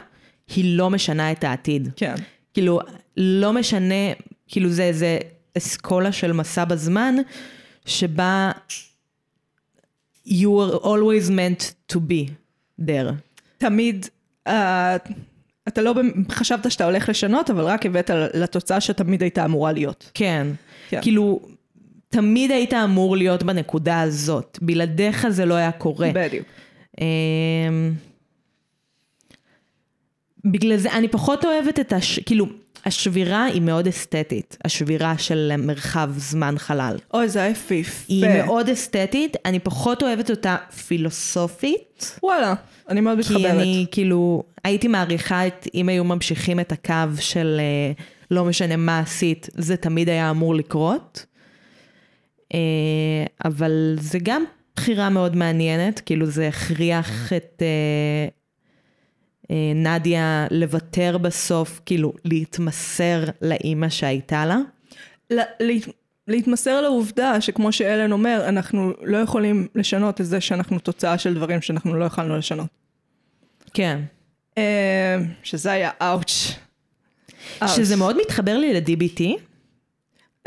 S2: היא לא משנה את העתיד.
S1: כן.
S2: כאילו, לא משנה, כאילו זה איזה אסכולה של מסע בזמן, שבה you are always meant to be there.
S1: תמיד, אה, אתה לא במ- חשבת שאתה הולך לשנות, אבל רק הבאת לתוצאה שתמיד הייתה אמורה להיות.
S2: כן.
S1: כן.
S2: כן. כאילו, תמיד היית אמור להיות בנקודה הזאת. בלעדיך זה לא היה קורה.
S1: בדיוק.
S2: אמ, בגלל זה, אני פחות אוהבת את הש... כאילו, השבירה היא מאוד אסתטית. השבירה של מרחב זמן חלל.
S1: אוי, זה היה יפיפה.
S2: היא מאוד אסתטית, אני פחות אוהבת אותה פילוסופית.
S1: וואלה, אני מאוד מתחברת.
S2: כי אני כאילו, הייתי מעריכה את אם היו ממשיכים את הקו של אה, לא משנה מה עשית, זה תמיד היה אמור לקרות. אה, אבל זה גם בחירה מאוד מעניינת, כאילו זה הכריח את אה, אה, נדיה לוותר בסוף, כאילו להתמסר לאימא שהייתה לה.
S1: ל- לה- להתמסר לעובדה שכמו שאלן אומר, אנחנו לא יכולים לשנות את זה שאנחנו תוצאה של דברים שאנחנו לא יכולנו לשנות.
S2: כן.
S1: אה, שזה היה אאוץ'. אאוץ'.
S2: שזה מאוד מתחבר לי ל-DBT.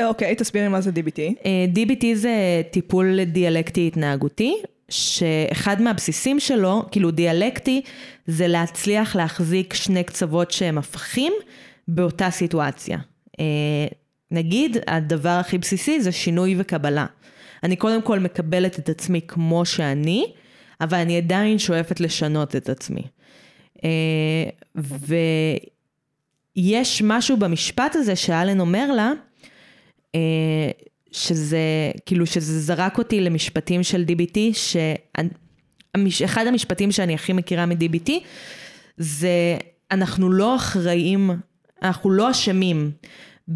S1: אוקיי, תסבירי מה זה DBT.
S2: אה, DBT זה טיפול דיאלקטי התנהגותי, שאחד מהבסיסים שלו, כאילו דיאלקטי, זה להצליח להחזיק שני קצוות שהם הפכים באותה סיטואציה. אה, נגיד, הדבר הכי בסיסי זה שינוי וקבלה. אני קודם כל מקבלת את עצמי כמו שאני, אבל אני עדיין שואפת לשנות את עצמי. אה, ויש משהו במשפט הזה שאלן אומר לה, אה, שזה, כאילו, שזה זרק אותי למשפטים של DBT, שאחד המשפטים שאני הכי מכירה מ-DBT, זה אנחנו לא אחראים, אנחנו לא אשמים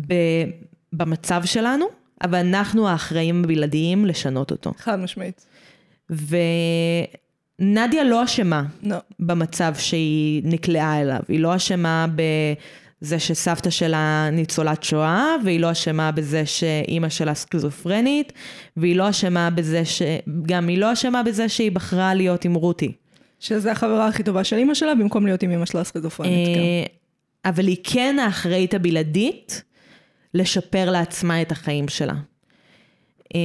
S2: ב, במצב שלנו, אבל אנחנו האחראים הבלעדיים לשנות אותו.
S1: חד משמעית.
S2: ונדיה לא אשמה
S1: לא.
S2: במצב שהיא נקלעה אליו. היא לא אשמה בזה שסבתא שלה ניצולת שואה, והיא לא אשמה בזה שאימא שלה סכיזופרנית, והיא לא אשמה בזה ש... גם היא לא אשמה בזה שהיא בחרה להיות עם רותי.
S1: שזה החברה הכי טובה של אימא שלה, במקום להיות עם אימא שלה סכיזופרנית. כן.
S2: אה, אבל היא כן האחראית הבלעדית לשפר לעצמה את החיים שלה. אה,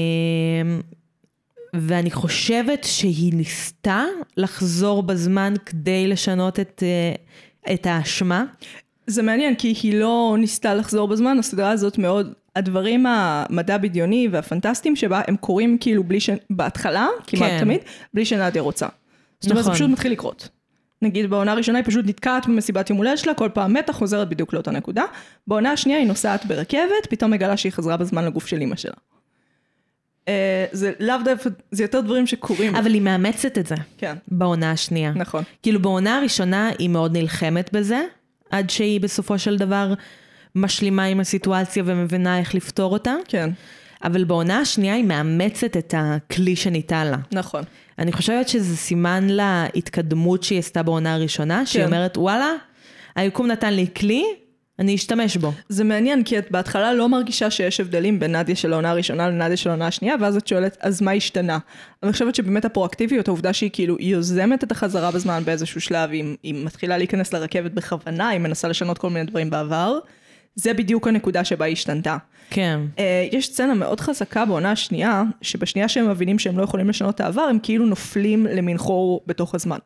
S2: ואני חושבת שהיא ניסתה לחזור בזמן כדי לשנות את, אה, את האשמה.
S1: זה מעניין, כי היא לא ניסתה לחזור בזמן, הסדרה הזאת מאוד... הדברים המדע בדיוני והפנטסטיים שבה הם קורים כאילו בלי ש... בהתחלה, כמעט
S2: כן.
S1: תמיד, בלי שנדיה רוצה. זאת אומרת, זה
S2: נכון.
S1: פשוט מתחיל לקרות. נגיד בעונה הראשונה היא פשוט נתקעת במסיבת יום הולדת שלה, כל פעם מתה, חוזרת בדיוק לאותה נקודה. בעונה השנייה היא נוסעת ברכבת, פתאום מגלה שהיא חזרה בזמן לגוף של אימא שלה. אה, זה לאו דווקא, זה יותר דברים שקורים.
S2: אבל היא מאמצת את זה
S1: כן,
S2: בעונה השנייה.
S1: נכון.
S2: כאילו בעונה הראשונה היא מאוד נלחמת בזה, עד שהיא בסופו של דבר משלימה עם הסיטואציה ומבינה איך לפתור אותה.
S1: כן,
S2: אבל בעונה השנייה היא מאמצת את הכלי שניתן לה.
S1: נכון.
S2: אני חושבת שזה סימן להתקדמות שהיא עשתה בעונה הראשונה, שהיא
S1: כן.
S2: אומרת, וואלה, היקום נתן לי כלי, אני אשתמש בו.
S1: זה מעניין, כי את בהתחלה לא מרגישה שיש הבדלים בין נדיה של העונה הראשונה לנדיה של העונה השנייה, ואז את שואלת, אז מה השתנה? אני חושבת שבאמת הפרואקטיביות, העובדה שהיא כאילו היא יוזמת את החזרה בזמן באיזשהו שלב, היא, היא מתחילה להיכנס לרכבת בכוונה, היא מנסה לשנות כל מיני דברים בעבר, זה בדיוק הנקודה שבה היא השתנתה.
S2: כן.
S1: אה, יש סצנה מאוד חזקה בעונה השנייה, שבשנייה שהם מבינים שהם לא יכולים לשנות את העבר, הם כאילו נופלים למין חור בתוך הזמן.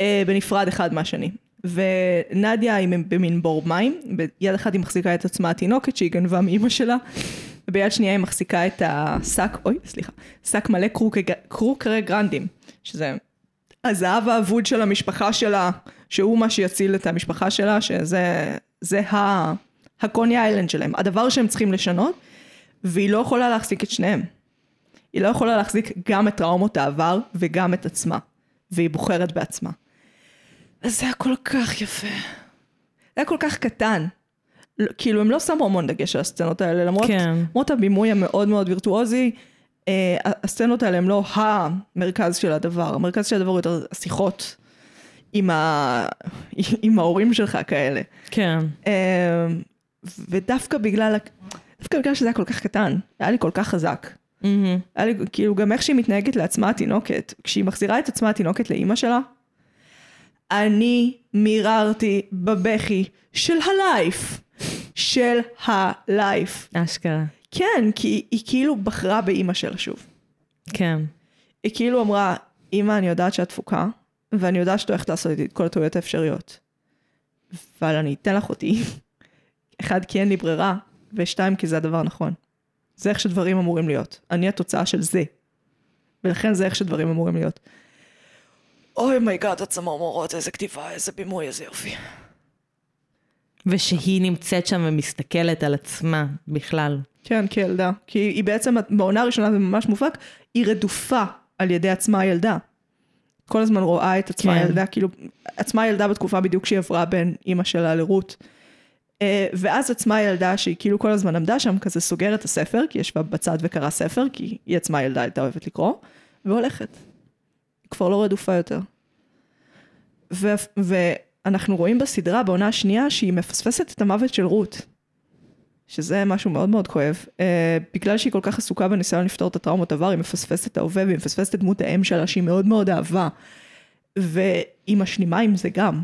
S1: אה, בנפרד אחד מהשני. ונדיה היא במין בור מים, ביד אחת היא מחזיקה את עצמה התינוקת שהיא גנבה מאימא שלה, וביד שנייה היא מחזיקה את השק, אוי, סליחה, שק מלא קרוקרי- קרוקרי גרנדים, שזה הזהב האבוד של המשפחה שלה, שהוא מה שיציל את המשפחה שלה, שזה זה ה... הקוני איילנד שלהם, הדבר שהם צריכים לשנות, והיא לא יכולה להחזיק את שניהם. היא לא יכולה להחזיק גם את טראומות העבר וגם את עצמה, והיא בוחרת בעצמה. אז זה היה כל כך יפה. זה היה כל כך קטן. לא- כאילו, הם לא שמו המון דגש על הסצנות האלה, למרות,
S2: כן.
S1: למרות הבימוי המאוד מאוד וירטואוזי, אה, הסצנות האלה הם לא המרכז של הדבר. המרכז של הדבר הוא יותר השיחות עם, ה... [laughs] עם ההורים שלך כאלה.
S2: כן.
S1: אמ, ודווקא בגלל, ה- דווקא בגלל שזה היה כל כך קטן, היה לי כל כך חזק. היה לי, כאילו, גם איך שהיא מתנהגת לעצמה התינוקת, כשהיא מחזירה את עצמה התינוקת לאימא שלה, אני מיררתי בבכי של הלייף. של הלייף.
S2: אשכרה.
S1: כן, כי היא, היא כאילו בחרה באימא שלה שוב.
S2: כן.
S1: היא כאילו אמרה, אימא, אני יודעת שאת תפוקה, ואני יודעת שאת הולכת לעשות איתי את כל הטעויות האפשריות. אבל אני אתן לך אותי. [laughs] אחד, כי אין לי ברירה, ושתיים, כי זה הדבר הנכון. זה איך שדברים אמורים להיות. אני התוצאה של זה. ולכן זה איך שדברים אמורים להיות. אוי מייגאד, הצמרמורות, איזה כתיבה, איזה בימוי, איזה יופי.
S2: ושהיא נמצאת שם ומסתכלת על עצמה בכלל.
S1: כן, כילדה. כי היא בעצם, בעונה הראשונה זה ממש מובהק, היא רדופה על ידי עצמה הילדה. כל הזמן רואה את עצמה
S2: כן.
S1: כן. הילדה, כאילו, עצמה הילדה בתקופה בדיוק שהיא עברה בין אימא שלה לרות. אה, ואז עצמה הילדה שהיא כאילו כל הזמן עמדה שם, כזה סוגרת את הספר, כי היא ישבה בצד וקראה ספר, כי היא עצמה הילדה הייתה אוהבת לקרוא, והולכת. היא כבר לא רדופה יותר. ו- ואנחנו רואים בסדרה, בעונה השנייה, שהיא מפספסת את המוות של רות. שזה משהו מאוד מאוד כואב. Uh, בגלל שהיא כל כך עסוקה בניסיון לפתור את הטראומות עבר, היא מפספסת את ההווה והיא מפספסת את דמות האם שלה, שהיא מאוד מאוד אהבה. והיא משלימה עם זה גם.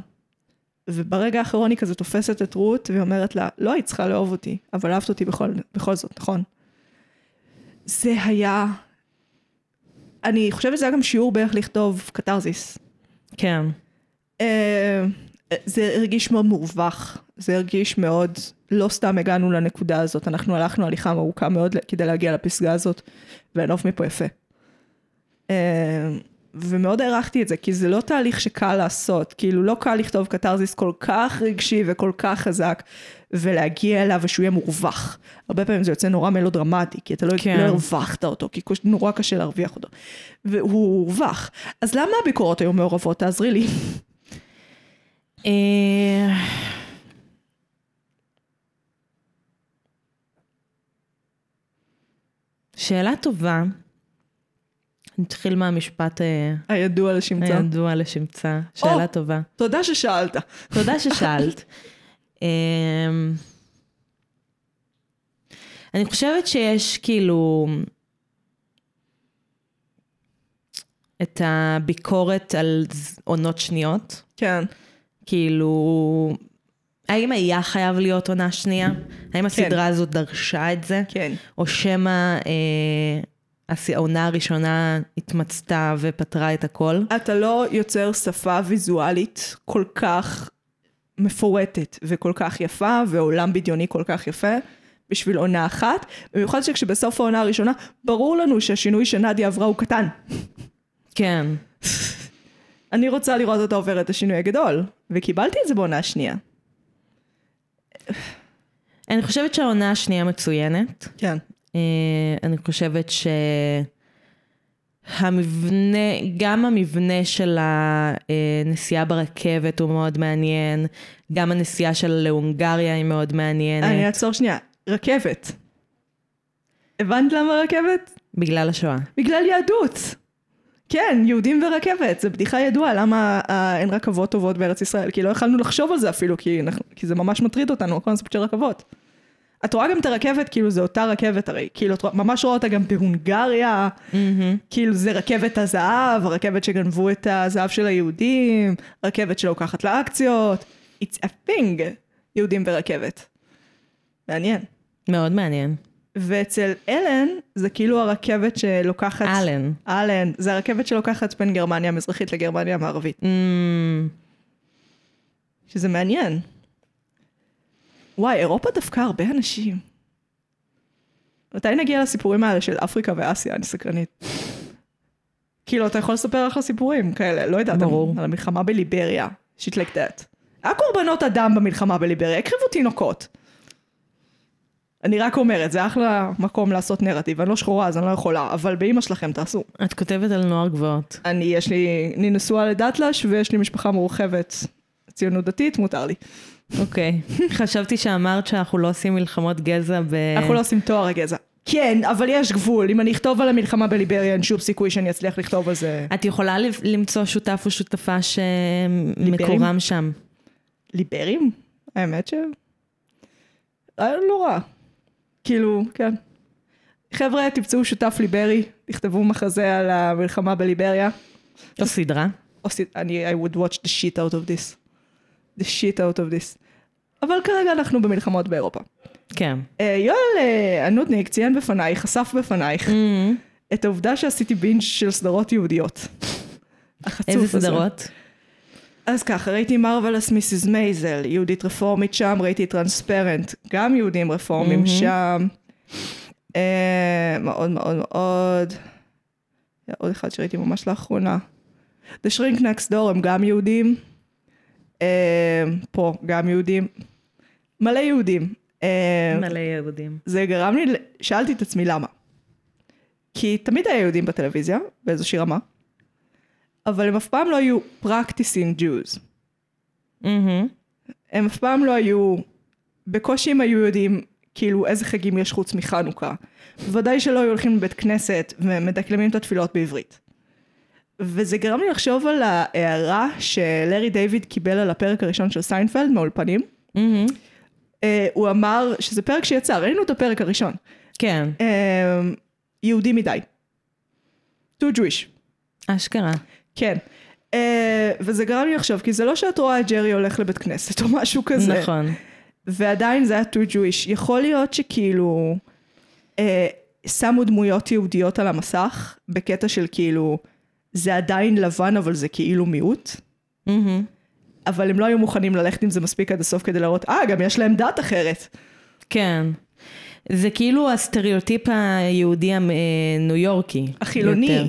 S1: וברגע האחרון היא כזה תופסת את רות ואומרת לה, לא, היית צריכה לאהוב אותי, אבל אהבת אותי בכל, בכל זאת, נכון? זה היה... אני חושבת שזה היה גם שיעור באיך לכתוב קתרזיס.
S2: כן.
S1: אה, זה הרגיש מאוד מורווח, זה הרגיש מאוד, לא סתם הגענו לנקודה הזאת, אנחנו הלכנו הליכה ארוכה מאוד כדי להגיע לפסגה הזאת, והנוף מפה יפה. אה, ומאוד הערכתי את זה, כי זה לא תהליך שקל לעשות, כאילו לא קל לכתוב קתרזיס כל כך רגשי וכל כך חזק, ולהגיע אליו ושהוא יהיה מורווח. הרבה פעמים זה יוצא נורא מלודרמטי, כי אתה לא,
S2: כן.
S1: כן. לא הרווחת אותו, כי קוש- נורא קשה להרוויח אותו. והוא הורווח. אז למה הביקורות היו מעורבות? תעזרי לי.
S2: אה, שאלה טובה. נתחיל מהמשפט אה,
S1: הידוע לשמצה.
S2: הידוע לשמצה. שאלה טובה.
S1: תודה ששאלת.
S2: תודה ששאלת. אמ, אני חושבת שיש כאילו את הביקורת על ז- עונות שניות.
S1: כן.
S2: כאילו, האם היה חייב להיות עונה שנייה? האם הסדרה הזאת דרשה את זה?
S1: כן.
S2: או שמא אה, הס- העונה הראשונה התמצתה ופתרה את הכל?
S1: אתה לא יוצר שפה ויזואלית כל כך מפורטת וכל כך יפה, ועולם בדיוני כל כך יפה, בשביל עונה אחת, במיוחד שכשבסוף העונה הראשונה, ברור לנו שהשינוי שנדיה עברה הוא קטן.
S2: כן.
S1: אני רוצה לראות אותה עוברת את השינוי הגדול, וקיבלתי את זה בעונה השנייה.
S2: אני חושבת שהעונה השנייה מצוינת.
S1: כן.
S2: אה, אני חושבת שהמבנה, גם המבנה של הנסיעה ברכבת הוא מאוד מעניין, גם הנסיעה שלה להונגריה היא מאוד
S1: אה, אני
S2: מעניינת,
S1: אעצור שנייה. רכבת. הבנת למה רכבת?
S2: בגלל השואה.
S1: בגלל יהדות. כן, יהודים ורכבת, זו בדיחה ידועה, למה אה, אין רכבות טובות בארץ ישראל? כי לא יכלנו לחשוב על זה אפילו, כי, אנחנו, כי זה ממש מטריד אותנו, הקונספט של רכבות. את רואה גם את הרכבת, כאילו זה אותה רכבת הרי, כאילו את רואה- ממש רואה אותה גם בהונגריה, כאילו זה רכבת הזהב, הרכבת שגנבו את הזהב של היהודים, רכבת שלוקחת לה אקציות, it's a thing, יהודים ורכבת. מעניין.
S2: מאוד מעניין.
S1: ואצל אלן זה כאילו הרכבת שלוקחת...
S2: אלן.
S1: אלן, זה הרכבת שלוקחת בין גרמניה המזרחית לגרמניה המערבית,
S2: אמ,
S1: שזה מעניין. וואי, אירופה דווקא הרבה אנשים. מתי נגיע לסיפורים האלה של אפריקה ואסיה? אני סקרנית. כאילו, אתה יכול לספר אחלה סיפורים כאלה, לא יודעת,
S2: ברור.
S1: על המלחמה בליבריה, שיט לייק דאט. היה קורבנות אדם במלחמה בליבריה, הקריבו תינוקות. אני רק אומרת, זה אחלה מקום לעשות נרטיב, אני לא שחורה אז אני לא יכולה, אבל באימא שלכם תעשו.
S2: את כותבת על נוער גבעות.
S1: אני, יש לי, אני נשואה לדתל"ש ויש לי משפחה מורחבת ציונות דתית, מותר לי.
S2: אוקיי. חשבתי שאמרת שאנחנו לא עושים מלחמות גזע ב...
S1: אנחנו לא עושים תואר הגזע. כן, אבל יש גבול, אם אני אכתוב על המלחמה בליבריה אין שום סיכוי שאני אצליח לכתוב על זה.
S2: את יכולה ל- למצוא שותף או שותפה שמקורם שם.
S1: לא. ליברים? האמת ש... אה, לא רע. כאילו, כן. חבר'ה, תמצאו שותף ליברי, תכתבו מחזה על המלחמה בליבריה.
S2: או סדרה.
S1: או ס- אני, I would watch the shit out of this. The shit out of this. אבל כרגע אנחנו במלחמות באירופה.
S2: כן.
S1: אה, יואל אה, הנודניק ציין בפנייך, חשף בפנייך,
S2: Mm.
S1: את העובדה שעשיתי בינג' של סדרות יהודיות. [laughs] החצוף
S2: איזה
S1: הזה.
S2: סדרות?
S1: אז ככה, ראיתי מרוולס מיסיס מייזל, יהודית רפורמית שם, ראיתי טרנספרנט, גם יהודים רפורמים שם. אה, מאוד מאוד מאוד. היה עוד אחד שראיתי ממש לאחרונה. The Shrink Next Door הם גם יהודים. אה, פה, גם יהודים. מלא יהודים. אה,
S2: מלא יהודים.
S1: זה גרם לי, ל- שאלתי את עצמי למה. כי תמיד היה יהודים בטלוויזיה, באיזושהי רמה, אבל הם אף פעם לא היו practicing Jews. הם אף פעם לא היו, בקושי הם היו יודעים כאילו איזה חגים יש חוץ מחנוכה. בוודאי שלא היו הולכים לבית כנסת ומדקלמים את התפילות בעברית. וזה גרם לי לחשוב על ההערה שלארי דיוויד קיבל על הפרק הראשון של סיינפלד מהאולפנים. אה, הוא אמר שזה פרק שיצא, ראינו את הפרק הראשון.
S2: כן,
S1: אה, יהודי מדי. too Jewish.
S2: אשכרה.
S1: כן. אה, וזה גרם לי לחשוב, כי זה לא שאת רואה את ג'רי הולך לבית כנסת או משהו כזה.
S2: נכון.
S1: ועדיין זה היה too Jewish. יכול להיות שכאילו אה, שמו דמויות יהודיות על המסך, בקטע של כאילו, זה עדיין לבן אבל זה כאילו מיעוט. אבל הם לא היו מוכנים ללכת עם זה מספיק עד הסוף כדי להראות, אה, גם יש להם דת אחרת.
S2: כן. זה כאילו הסטריאוטיפ היהודי הניו יורקי.
S1: החילוני.
S2: יותר.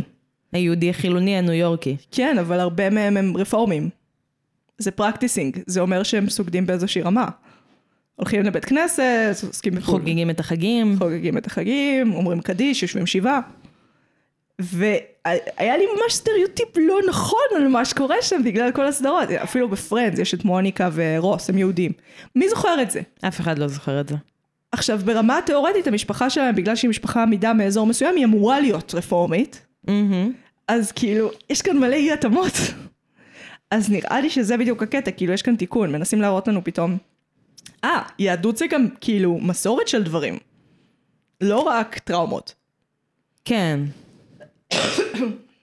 S2: היהודי החילוני הניו יורקי.
S1: כן, אבל הרבה מהם הם רפורמים. זה פרקטיסינג, זה אומר שהם סוגדים באיזושהי רמה. הולכים לבית כנסת, עוסקים בפול.
S2: חוגגים את החגים.
S1: חוגגים את החגים, אומרים קדיש, יושבים שבעה. והיה לי ממש סטריאוטיפ לא נכון על מה שקורה שם בגלל כל הסדרות. אפילו בפרנדס יש את מוניקה ורוס, הם יהודים. מי זוכר את זה?
S2: אף אחד לא זוכר את זה.
S1: עכשיו, ברמה התיאורטית, המשפחה שלהם, בגלל שהיא משפחה עמידה מאזור מסוים, היא אמורה להיות רפורמית. אז כאילו, יש כאן מלא אי התאמות. אז נראה לי שזה בדיוק הקטע, כאילו, יש כאן תיקון, מנסים להראות לנו פתאום. אה, יהדות זה גם, כאילו, מסורת של דברים. לא רק טראומות.
S2: כן.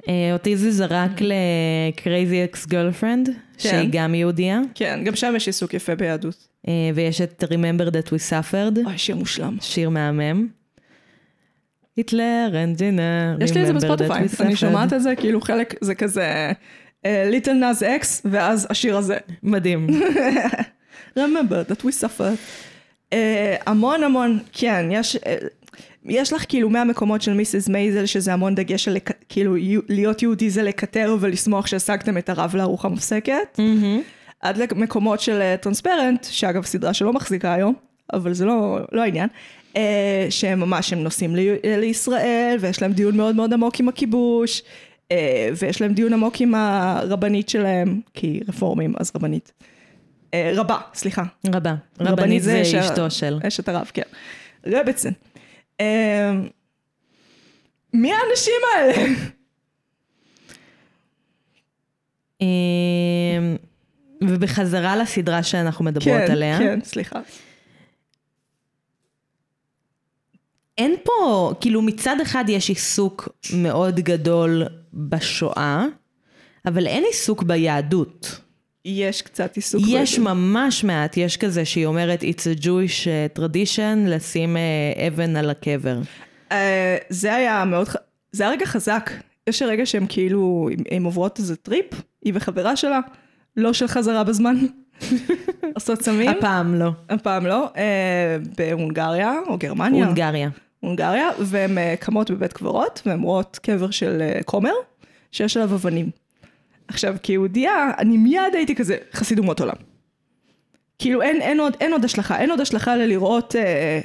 S2: אה, אותי זה זרק ל-Crazy Ex-Girlfriend, שהיא גם יהודייה,
S1: כן, גם שם יש עיסוק יפה ביהדות.
S2: אה, ויש את Remember That We Suffered,
S1: אוי, שיר מושלם.
S2: שיר מהמם. היטלר, אנג'ינר,
S1: יש לי את זה בספוטיפיי, אני שומעת את זה, כאילו חלק, זה כזה אה, ליטל נאז אקס, ואז השיר הזה. [laughs]
S2: מדהים.
S1: remember that we suffered. Uh, המון המון, כן, יש, uh, יש לך כאילו מהמקומות של מיסיס מייזל, שזה המון דגש על לק- כאילו יו- להיות יהודי זה לקטר ולשמוח שהשגתם את הרב לארוחה מפסקת. עד למקומות של אה, טרנספרנט, שאגב סדרה שלא מחזיקה היום, אבל זה לא, לא העניין, אה, שהם ממש, הם נוסעים לי, אה, לישראל, ויש להם דיון מאוד מאוד עמוק עם הכיבוש, אה, ויש להם דיון עמוק עם הרבנית שלהם, כי רפורמים, אז רבנית. אה, רבה, סליחה.
S2: רבה. רבנית זה אשתו של.
S1: אשת הרב, כן. רבצן. אה, מי האנשים
S2: [laughs]
S1: האלה? כן,
S2: אה, ובחזרה לסדרה שאנחנו מדברות עליה.
S1: כן, סליחה.
S2: אין פה, כאילו מצד אחד יש עיסוק מאוד גדול בשואה, אבל אין עיסוק ביהדות.
S1: יש קצת עיסוק.
S2: יש
S1: בזה.
S2: ממש מעט, יש כזה שהיא אומרת It's a Jewish אה, tradition לשים אה, אבן על הקבר.
S1: אה, זה היה מאוד, ח- זה היה רגע חזק. יש רגע שהם כאילו, הם- הם עוברות איזה טריפ, היא וחברה שלה, לא של חזרה
S2: [laughs]
S1: בזמן, עושות סמים,
S2: הפעם לא.
S1: הפעם לא, אה, בהונגריה או גרמניה,
S2: הונגריה.
S1: הונגריה, והן אה, קמות בבית קברות, והן רואות קבר של אה, כומר, שיש עליו אבנים. עכשיו, כיהודייה, אני מיד הייתי כזה חסיד אומות עולם. כאילו, אין, אין, עוד, אין עוד השלכה, אין עוד השלכה ללראות אה,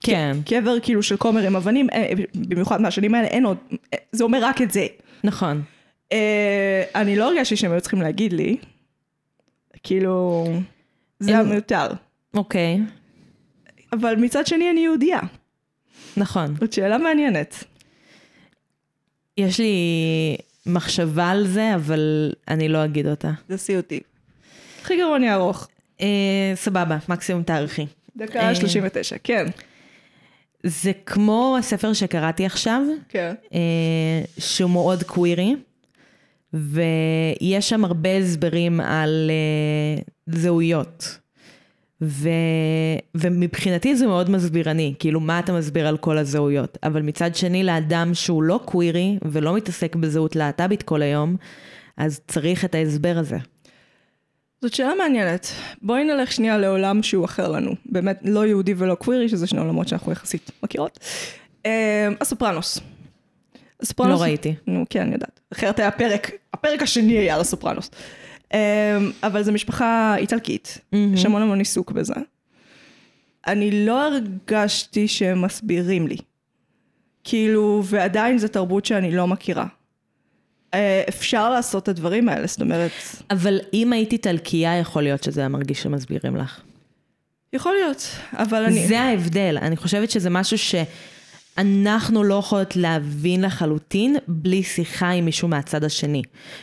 S2: כן,
S1: קבר כאילו של כומר עם אבנים, אה, במיוחד מהשנים האלה, אין עוד, אה, זה אומר רק את זה.
S2: נכון.
S1: אה, אני לא הרגשתי שהם היו צריכים להגיד לי, כאילו, זה היה
S2: אין-
S1: מיותר.
S2: אוקיי,
S1: אבל מצד שני אני יהודייה,
S2: נכון.
S1: זאת שאלה מעניינת.
S2: יש לי מחשבה על זה, אבל אני לא אגיד אותה.
S1: זה סיוטי. הכי גרוע אני ארוך.
S2: אה, סבבה, מקסימום תאריכי.
S1: דקה 39, כן.
S2: זה כמו הספר שקראתי עכשיו,
S1: כן.
S2: אה, שהוא מאוד קווירי, ויש שם הרבה הסברים על אה, זהויות. ו... ומבחינתי זה מאוד מסבירני, כאילו מה אתה מסביר על כל הזהויות. אבל מצד שני, לאדם שהוא לא קווירי ולא מתעסק בזהות להט"בית כל היום, אז צריך את ההסבר הזה.
S1: זאת שאלה מעניינת. בואי נלך שנייה לעולם שהוא אחר לנו. באמת, לא יהודי ולא קווירי, שזה שני עולמות שאנחנו יחסית מכירות. אה, הסופרנוס. הסופרנוס...
S2: לא ראיתי.
S1: נו, כן, אני יודעת. אחרת היה פרק, הפרק השני היה על הסופרנוס. אה, אבל זו משפחה איטלקית, יש המון המון עיסוק בזה. אני לא הרגשתי שהם מסבירים לי. כאילו, ועדיין זו תרבות שאני לא מכירה. אה, אפשר לעשות את הדברים האלה, זאת אומרת...
S2: אבל אם היית איטלקייה, יכול להיות שזה היה מרגיש שמסבירים לך.
S1: יכול להיות, אבל אני...
S2: זה ההבדל. אני חושבת שזה משהו שאנחנו לא יכולות להבין לחלוטין בלי שיחה עם מישהו מהצד השני.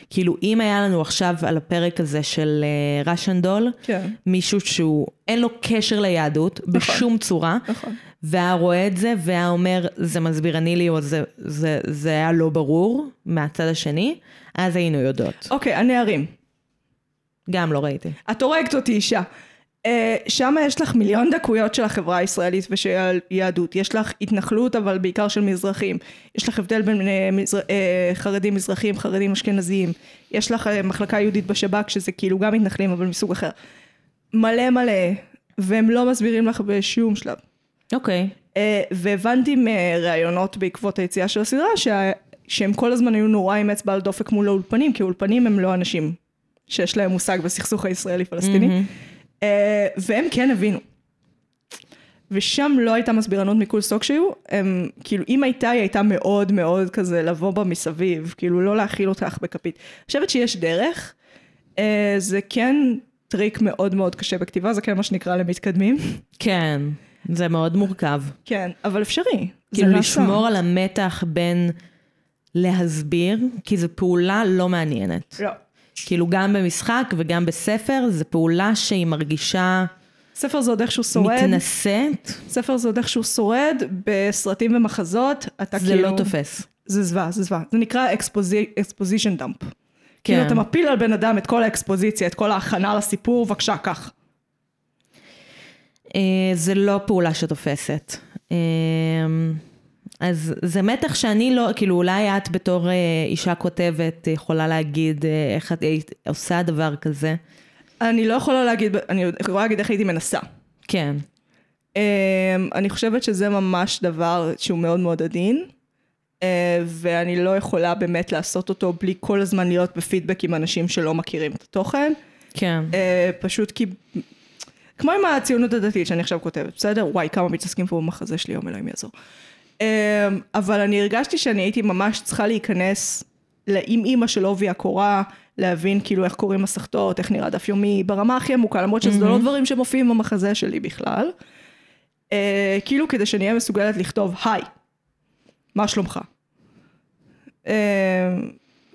S2: כאילו, אם היה לנו עכשיו על הפרק הזה של אה, ראשן דול,
S1: כן.
S2: מישהו שהוא, אין לו קשר ליהדות בשום צורה,
S1: נכון.
S2: והיה רואה את זה, והיה אומר, זה מסבירני לי, או זה, זה, זה היה לא ברור מהצד השני, אז היינו יודעות.
S1: אוקיי, הנערים.
S2: גם לא ראיתי.
S1: את הורגת אותי אישה. אה, שם יש לך מיליון דקויות של החברה הישראלית ושל יהדות. יש לך התנחלות, אבל בעיקר של מזרחים. יש לך הבדל בין אה, מזר... אה, חרדים מזרחים, חרדים אשכנזיים. יש לך אה, מחלקה יהודית בשב"כ, שזה כאילו גם מתנחלים, אבל מסוג אחר. מלא מלא, והם לא מסבירים לך בשום שלב.
S2: אוקיי.
S1: אה, והבנתי מראיונות בעקבות היציאה של הסדרה שה... שהם כל הזמן היו נורא עם אצבע על דופק מול האולפנים, כי האולפנים הם לא אנשים שיש להם מושג בסכסוך הישראלי-פלסטיני, mm-hmm. והם כן הבינו. ושם לא הייתה מסבירנות מכל סוג שהיו, הם, כאילו אם הייתה, היא הייתה מאוד מאוד כזה לבוא בה מסביב, כאילו לא להאכיל אותך בכפית. אני חושבת שיש דרך, אה, זה כן טריק מאוד מאוד קשה בכתיבה, זה כן מה שנקרא למתקדמים. [laughs]
S2: כן, זה מאוד מורכב.
S1: כן, אבל אפשרי. זה לא
S2: כאילו
S1: נעשה.
S2: לשמור על המתח בין להסביר, כי זו פעולה לא מעניינת.
S1: לא.
S2: כאילו גם במשחק וגם בספר, זו פעולה שהיא מרגישה
S1: ספר זה עוד איכשהו שורד,
S2: מתנשאת,
S1: ספר זה עוד איכשהו שורד, בסרטים ומחזות, אתה
S2: זה
S1: כאילו...
S2: לא תופס.
S1: זה זוועה, זה זוועה. זה נקרא אקספוזי... אקספוזישן דאמפ. כן. כאילו
S2: כן,
S1: אתה מפיל על בן אדם את כל האקספוזיציה, את כל ההכנה לסיפור, בבקשה, קח.
S2: אה, זה לא פעולה שתופסת. אה, אז זה מתח שאני לא, כאילו אולי את בתור אה, אישה כותבת יכולה להגיד אה, איך את היית עושה דבר כזה.
S1: אני לא יכולה להגיד, אני יכולה להגיד איך הייתי מנסה.
S2: כן,
S1: אמ, אני חושבת שזה ממש דבר שהוא מאוד מאוד עדין, אה, ואני לא יכולה באמת לעשות אותו בלי כל הזמן להיות בפידבק עם אנשים שלא מכירים את התוכן.
S2: כן.
S1: אה, פשוט כי... כמו עם הציונות הדתית שאני עכשיו כותבת, בסדר? וואי, כמה מתעסקים פה במחזה שלי, יום אלוהים יעזור. אמ, אבל אני הרגשתי שאני הייתי ממש צריכה להיכנס עם אימא של עובי הקורה, להבין כאילו איך קוראים מסכתות, איך נראה דף יומי, ברמה הכי עמוקה, למרות שזה לא דברים שמופיעים במחזה שלי בכלל. אה, כאילו כדי שאני אהיה מסוגלת לכתוב, היי, מה שלומך? אמ,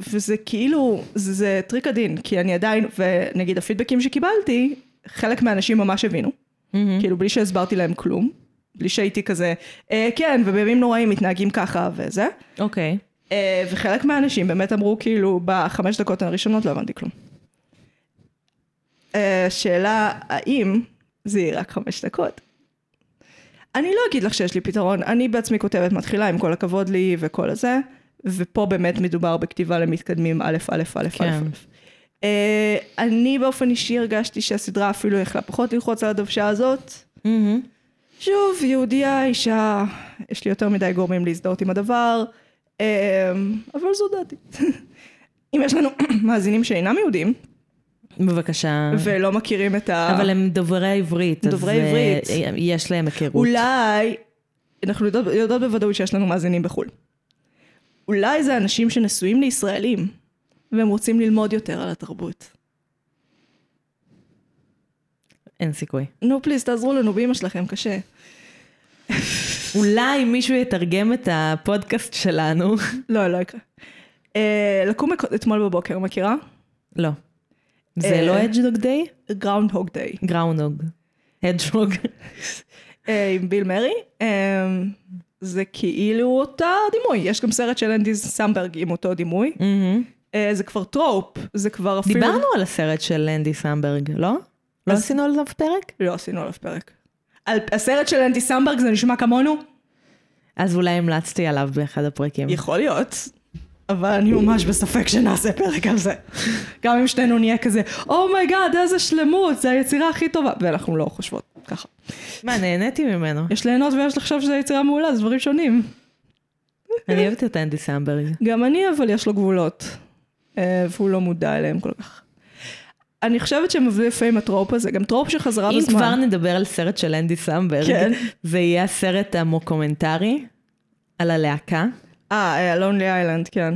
S1: וזה כאילו, זה, זה טריק עדין, כי אני עדיין, ונגיד הפידבקים שקיבלתי, חלק מהאנשים ממש הבינו. כאילו, בלי שהסברתי להם כלום. בלי שהייתי כזה, אה, כן, ובימים נוראים מתנהגים ככה וזה.
S2: אוקיי.
S1: אה, וחלק מהאנשים באמת אמרו, כאילו, בחמש דקות הראשונות לא הבנתי כלום. אה, שאלה, האם זה יהיה רק חמש דקות? אני לא אגיד לך שיש לי פתרון, אני בעצמי כותבת מתחילה, עם כל הכבוד לי וכל הזה, ופה באמת מדובר בכתיבה למתקדמים א', א', א', א',
S2: כן.
S1: א'. אה, אני באופן אישי הרגשתי שהסדרה אפילו יכלה פחות ללחוץ על הדוושה הזאת. שוב, יהודייה, אישה, יש אה, לי יותר מדי גורמים להזדהות עם הדבר, אמ, אבל זו דעתי. [laughs] אם יש לנו [clears throat] מאזינים שאינם יהודים,
S2: בבקשה.
S1: ולא מכירים את ה...
S2: אוקיי. אבל הם אה. דוברי עברית. אז,
S1: דוברי
S2: אה,
S1: עברית.
S2: אה, יש להם היכרות.
S1: אולי, אנחנו יודעות, יודעות בוודאות שיש לנו מאזינים בחו"ל. אולי זה אנשים שנשואים לישראלים, והם רוצים ללמוד יותר על התרבות.
S2: אין סיכוי.
S1: נו פליז, תעזרו לנו, באמא שלכם,
S2: [laughs]
S1: קשה.
S2: אולי מישהו יתרגם את הפודקאסט שלנו.
S1: לא, לא יקרה. אה, לקום אק- אתמול בבוקר, מכירה?
S2: [laughs] לא. זה
S1: אה,
S2: לא אדג'דוג דיי?
S1: Groundhog Day.
S2: גראונוג. הדג'רוג.
S1: אה, עם ביל מרי. אה, זה כאילו אותה דימוי, יש גם סרט של אנדי סמברג עם אותו דימוי. אה, זה כבר טרופ, זה כבר אפילו...
S2: [laughs] דיברנו על הסרט של אנדי סמברג, לא? לא
S1: אז-
S2: עשינו עליו פרק?
S1: לא עשינו עליו פרק. על הסרט של אנדי סמברג זה נשמע כמונו?
S2: אז אולי המלצתי עליו באחד הפרקים.
S1: יכול להיות, אבל אני ממש בספק שנעשה פרק על זה. גם אם שנינו נהיה כזה, אומייגאד, איזה שלמות, זה היצירה הכי טובה. ואנחנו לא חושבות ככה.
S2: מה, נהניתי [laughs] ממנו.
S1: יש ליהנות ויש לחשוב שזו יצירה מעולה, זה דברים שונים.
S2: אני אוהבת את אנדי סמברג.
S1: גם אני, אבל יש לו גבולות. אה, והוא לא מודע אליהם כל כך. אני חושבת שמביא לפעמים הטרופ הזה, גם טרופ שחזרה
S2: אם
S1: בזמן.
S2: כבר נדבר על סרט של אנדי סמברג,
S1: כן.
S2: זה יהיה הסרט המוקומנטרי על הלהקה.
S1: אה, לונלי איילנד, כן.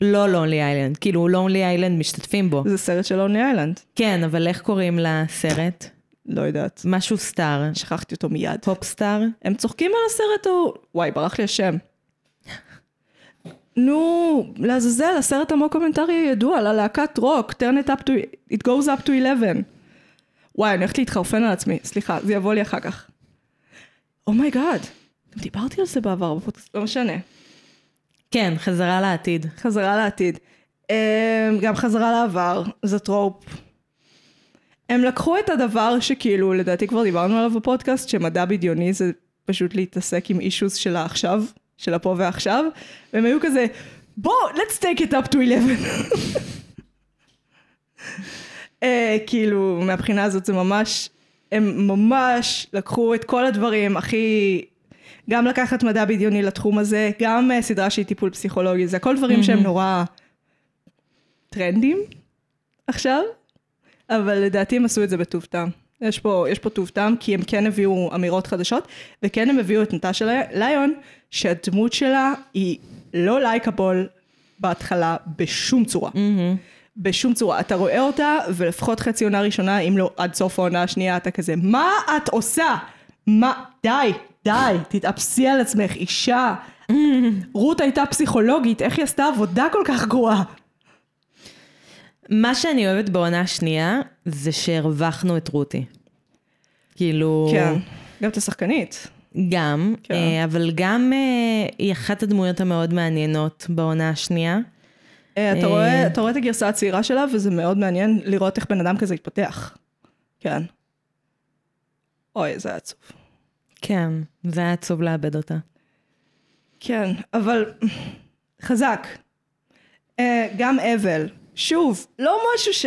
S2: לא לונלי איילנד, כאילו לונלי איילנד משתתפים בו.
S1: זה סרט של לונלי איילנד.
S2: כן, אבל איך קוראים לסרט?
S1: לא יודעת.
S2: משהו סטאר.
S1: שכחתי אותו מיד.
S2: פופ סטאר?
S1: הם צוחקים על הסרט ההוא. וואי, ברח לי השם. נו, לעזאזל, הסרט המוקומנטרי הידוע, על הלהקת רוק, turn it up to, it goes up to 11. וואי, אני הולכת להתחרפן על עצמי, סליחה, זה יבוא לי אחר כך. אומייגאד, גם דיברתי על זה בעבר בפודקאסט, לא משנה.
S2: כן, חזרה לעתיד.
S1: חזרה לעתיד. אמ, גם חזרה לעבר, זה טרופ. הם לקחו את הדבר שכאילו, לדעתי כבר דיברנו עליו בפודקאסט, שמדע בדיוני זה פשוט להתעסק עם אישוז של העכשיו, של הפה ועכשיו, והם היו כזה, בוא, let's take it up to 11. אה, כאילו, מהבחינה הזאת זה ממש, הם ממש לקחו את כל הדברים הכי... גם לקחת מדע בדיוני לתחום הזה, גם אה, סדרה שהיא טיפול פסיכולוגי, זה הכל דברים שהם נורא טרנדים עכשיו, אבל לדעתי הם עשו את זה בטוב טעם. יש פה, יש פה טוב טעם, כי הם כן הביאו אמירות חדשות, וכן הם הביאו את נטשה לי- ליון, שהדמות שלה היא לא לייקבול בהתחלה בשום צורה. בשום צורה. אתה רואה אותה, ולפחות חצי עונה ראשונה, אם לא עד סוף העונה השנייה, אתה כזה, מה את עושה? מה? די, די, תתאפסי על עצמך, אישה. רות הייתה פסיכולוגית, איך היא עשתה עבודה כל כך גרועה?
S2: מה שאני אוהבת בעונה השנייה, זה שהרווחנו את רותי. כאילו...
S1: כן. גם את השחקנית.
S2: גם,
S1: כן.
S2: אה, אבל גם אה, היא אחת הדמויות המאוד מעניינות בעונה השנייה.
S1: אה, אתה
S2: אה.
S1: רואה- אתה רואה את הגרסה הצעירה שלה, וזה מאוד מעניין לראות איך בן אדם כזה התפתח. כן. אוי, זה היה עצוב.
S2: כן, זה היה עצוב לאבד אותה.
S1: כן, אבל חזק. אה, גם אבל. שוב, לא משהו ש...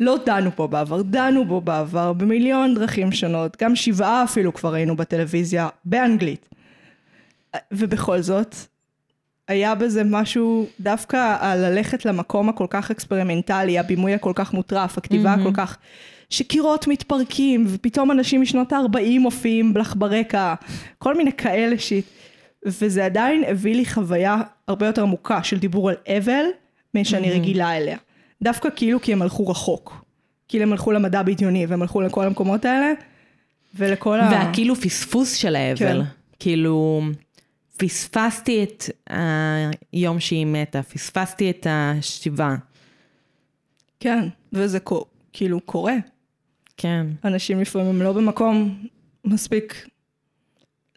S1: לא דנו פה בעבר, דנו בו בעבר במיליון דרכים שונות, גם שבעה אפילו כבר היינו בטלוויזיה, באנגלית. אה, ובכל זאת, היה בזה משהו דווקא על ללכת למקום הכל כך אקספרימנטלי, הבימוי הכל כך מוטרף, הכתיבה הכל כך... שקירות מתפרקים, ופתאום אנשים משנות ה-40 מופיעים לך ברקע, כל מיני כאלה שיט. וזה עדיין הביא לי חוויה הרבה יותר עמוקה של דיבור על אבל, משאני רגילה אליה. דווקא כאילו כי הם הלכו רחוק. כאילו הם הלכו למדע בדיוני, והם הלכו לכל המקומות האלה, ולכל ה...
S2: והכאילו פספוס של האבל.
S1: אה. כן.
S2: כאילו, פספסתי את היום שהיא מתה, פספסתי את השבעה.
S1: כן, וזה קו- כאילו קורה.
S2: כן.
S1: אנשים לפעמים הם לא במקום מספיק,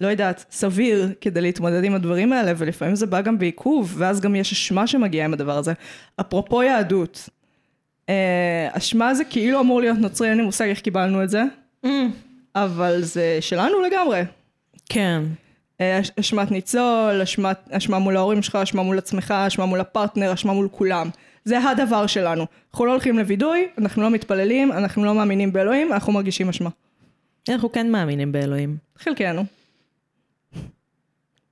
S1: לא יודעת, סביר כדי להתמודד עם הדברים האלה, ולפעמים זה בא גם בעיכוב, ואז גם יש אשמה שמגיעה עם הדבר הזה. אפרופו יהדות, אה, אשמה זה כאילו אמור להיות נוצרי, אין לי מושג איך קיבלנו את זה, אבל זה שלנו לגמרי.
S2: כן.
S1: אה, אש- אשמת ניצול, אשמת, אשמה מול ההורים שלך, אשמה מול עצמך, אשמה מול הפרטנר, אשמה מול כולם. זה הדבר שלנו. אנחנו לא הולכים לווידוי, אנחנו לא מתפללים, אנחנו לא מאמינים באלוהים, אנחנו מרגישים אשמה.
S2: אנחנו כן מאמינים באלוהים.
S1: חלקנו.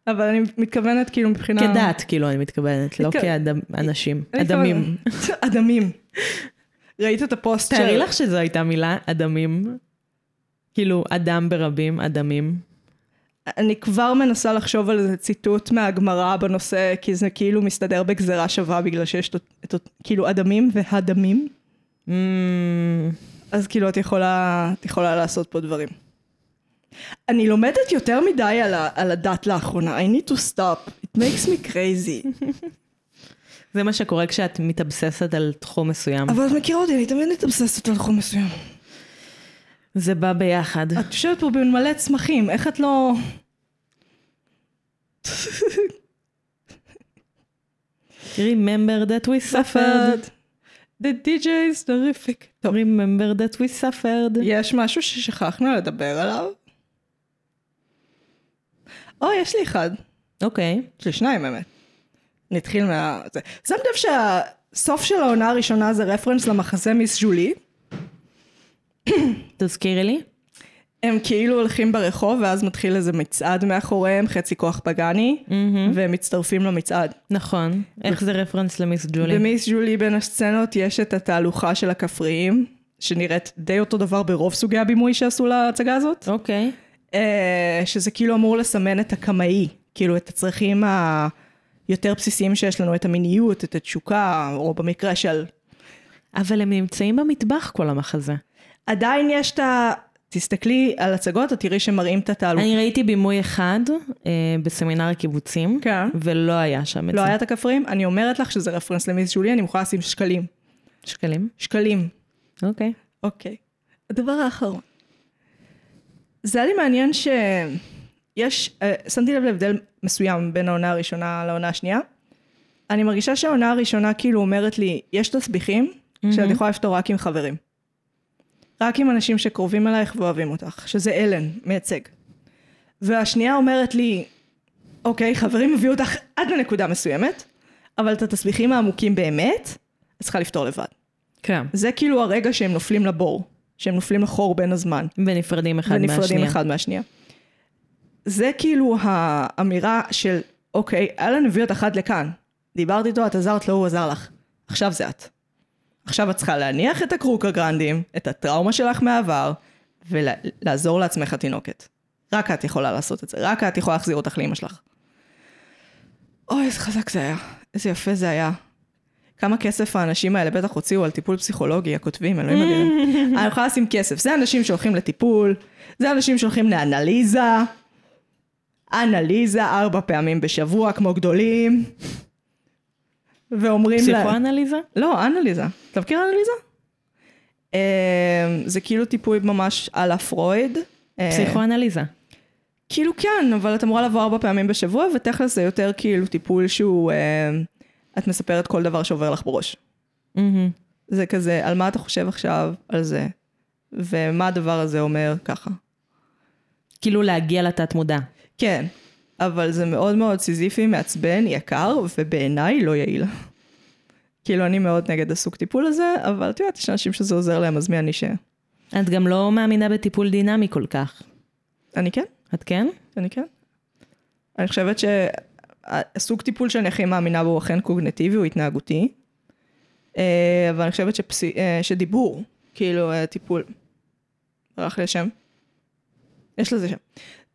S1: אבל אני מתכוונת כאילו מבחינה...
S2: כדת, כאילו, אני מתכוונת, לא
S1: מתכו-
S2: כאנשים,
S1: אני
S2: אדמים.
S1: מתכוונת- [laughs] אדמים. ראית את הפוסט
S2: תארי
S1: של-
S2: לך שזו הייתה מילה, אדמים. כאילו, אדם ברבים, אדמים.
S1: אני כבר מנסה לחשוב על איזה ציטוט מהגמרא בנושא, כי זה כאילו מסתדר בגזרה שווה בגלל שיש את, את, את כאילו אדמים והדמים,
S2: Mm,
S1: אז כאילו את יכולה, את יכולה לעשות פה דברים. אני לומדת יותר מדי על, ה, על הדת לאחרונה, I need to stop, it makes me
S2: [laughs]
S1: crazy.
S2: זה מה שקורה כשאת מתאבססת על תחום מסוים.
S1: אבל את מכירה אותי, אני תמיד מתאבססת על תחום מסוים.
S2: זה בא ביחד.
S1: את יושבת פה בין מלא צמחים, איך את לא...
S2: Remember that we suffered.
S1: The DJ is terrific. טוב,
S2: Remember that we suffered.
S1: יש משהו ששכחנו לדבר עליו? או, יש לי אחד.
S2: אוקיי.
S1: יש לי שניים, האמת. נתחיל מה... זה. שמת לב שהסוף של העונה הראשונה זה רפרנס למחזה מיס ז'ולי?
S2: תזכירי לי.
S1: הם כאילו הולכים ברחוב, ואז מתחיל איזה מצעד מאחוריהם, חצי כוח פגאני, והם מצטרפים למצעד.
S2: נכון. איך זה רפרנס למיס ג'ולי?
S1: במיס ג'ולי בין הסצנות יש את התהלוכה של הכפריים, שנראית די אותו דבר ברוב סוגי הבימוי שעשו להצגה הזאת.
S2: אוקיי.
S1: אה, שזה כאילו אמור לסמן את הקמאי, כאילו את הצרכים היותר בסיסיים שיש לנו, את המיניות, את התשוקה, או במקרה של...
S2: אבל הם נמצאים במטבח כל המחזה.
S1: עדיין יש את ה... תסתכלי על הצגות, את תראי שמראים את התעלומה.
S2: אני ראיתי בימוי אחד אה, בסמינר הקיבוצים,
S1: כן.
S2: ולא היה שם את
S1: לא
S2: זה.
S1: היה את הכפרים, אני אומרת לך שזה רפרנס למיס ג'ולי, אני מוכנה לשים שקלים.
S2: שקלים?
S1: שקלים.
S2: אוקיי.
S1: אוקיי. הדבר האחרון. זה היה לי מעניין שיש, אה, שמתי לב להבדל מסוים בין העונה הראשונה לעונה השנייה. אני מרגישה שהעונה הראשונה כאילו אומרת לי, יש תסביכים שאת יכולה לפתור רק עם חברים. רק עם אנשים שקרובים אלייך ואוהבים אותך, שזה אלן, מייצג. והשנייה אומרת לי, אוקיי, חברים הביאו אותך עד לנקודה מסוימת, אבל את התסביכים העמוקים באמת, את צריכה לפתור לבד.
S2: כן.
S1: זה כאילו הרגע שהם נופלים לבור, שהם נופלים לחור בין הזמן,
S2: ונפרדים אחד מהשנייה.
S1: ונפרדים אחד מהשנייה. זה כאילו האמירה של, אוקיי, אלן הביא אותך עד לכאן, דיברת איתו, את עזרת לו, הוא עזר לך. עכשיו זה את. עכשיו את צריכה להניח את הקרוק הגרנדים, את הטראומה שלך מהעבר, ולעזור לעצמך התינוקת. רק את יכולה לעשות את זה, רק את יכולה להחזיר אותך לאימא שלך. אוי, איזה חזק זה היה, איזה יפה זה היה. כמה כסף האנשים האלה בטח הוציאו על טיפול פסיכולוגי, הכותבים, אלוהים אדירים. אני יכולה לשים כסף. זה אנשים שהולכים לטיפול, זה אנשים שהולכים לאנליזה, אנליזה ארבע פעמים בשבוע כמו גדולים, ואומרים להם...
S2: פסיכואנליזה?
S1: לא, אנליזה. אתה מכיר אנליזה? אמ, זה כאילו טיפוי ממש על הפרויד. אמ,
S2: פסיכואנליזה.
S1: כאילו כן, אבל את אמורה לבוא ארבע פעמים בשבוע, ותכל'ס זה יותר כאילו טיפול שהוא... אמ, את מספרת כל דבר שעובר לך בראש.
S2: מהמם.
S1: זה כזה, על מה אתה חושב עכשיו על זה, ומה הדבר הזה אומר ככה.
S2: כאילו להגיע לתת מודע.
S1: כן, אבל זה מאוד מאוד סיזיפי, מעצבן, יקר, ובעיניי לא יעיל. כאילו, אני מאוד נגד הסוג טיפול הזה, אבל את יודעת, יש אנשים שזה עוזר להם, אז מי אני ש...
S2: את גם לא מאמינה בטיפול דינמי כל כך.
S1: אני כן,
S2: את כן?
S1: אני כן. אני חושבת שהסוג טיפול שאני הכי מאמינה בו הוא אכן קוגנטיבי, הוא התנהגותי. אה, אבל אני חושבת שפסי... אה, שדיבור, כאילו, אה, טיפול. ברח לי השם. יש לזה שם.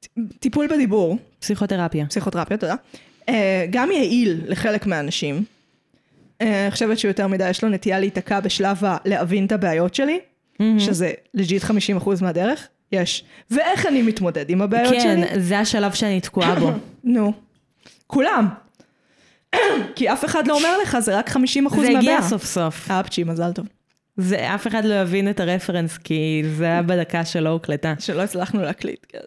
S1: ט- טיפול בדיבור,
S2: פסיכותרפיה.
S1: פסיכותרפיה, תודה. אה, גם יעיל לחלק מהאנשים. אה, אני חושבת שיותר מדי יש לו נטייה להיתקע בשלב ה- להבין את הבעיות שלי, שזה לג'יט 50% מהדרך, יש. ואיך אני מתמודד עם הבעיות שלי?
S2: כן, זה השלב שאני תקועה
S1: [coughs]
S2: בו.
S1: נו. כולם. [clears throat] כי אף אחד לא אומר לך, זה רק 50% מהבעיה.
S2: זה הגיע סוף סוף.
S1: אפצ'י, מזל טוב.
S2: זה, אף אחד לא יבין את הרפרנס, כי זה היה בדקה שלא הוקלטה.
S1: שלא הצלחנו להקליט, כן.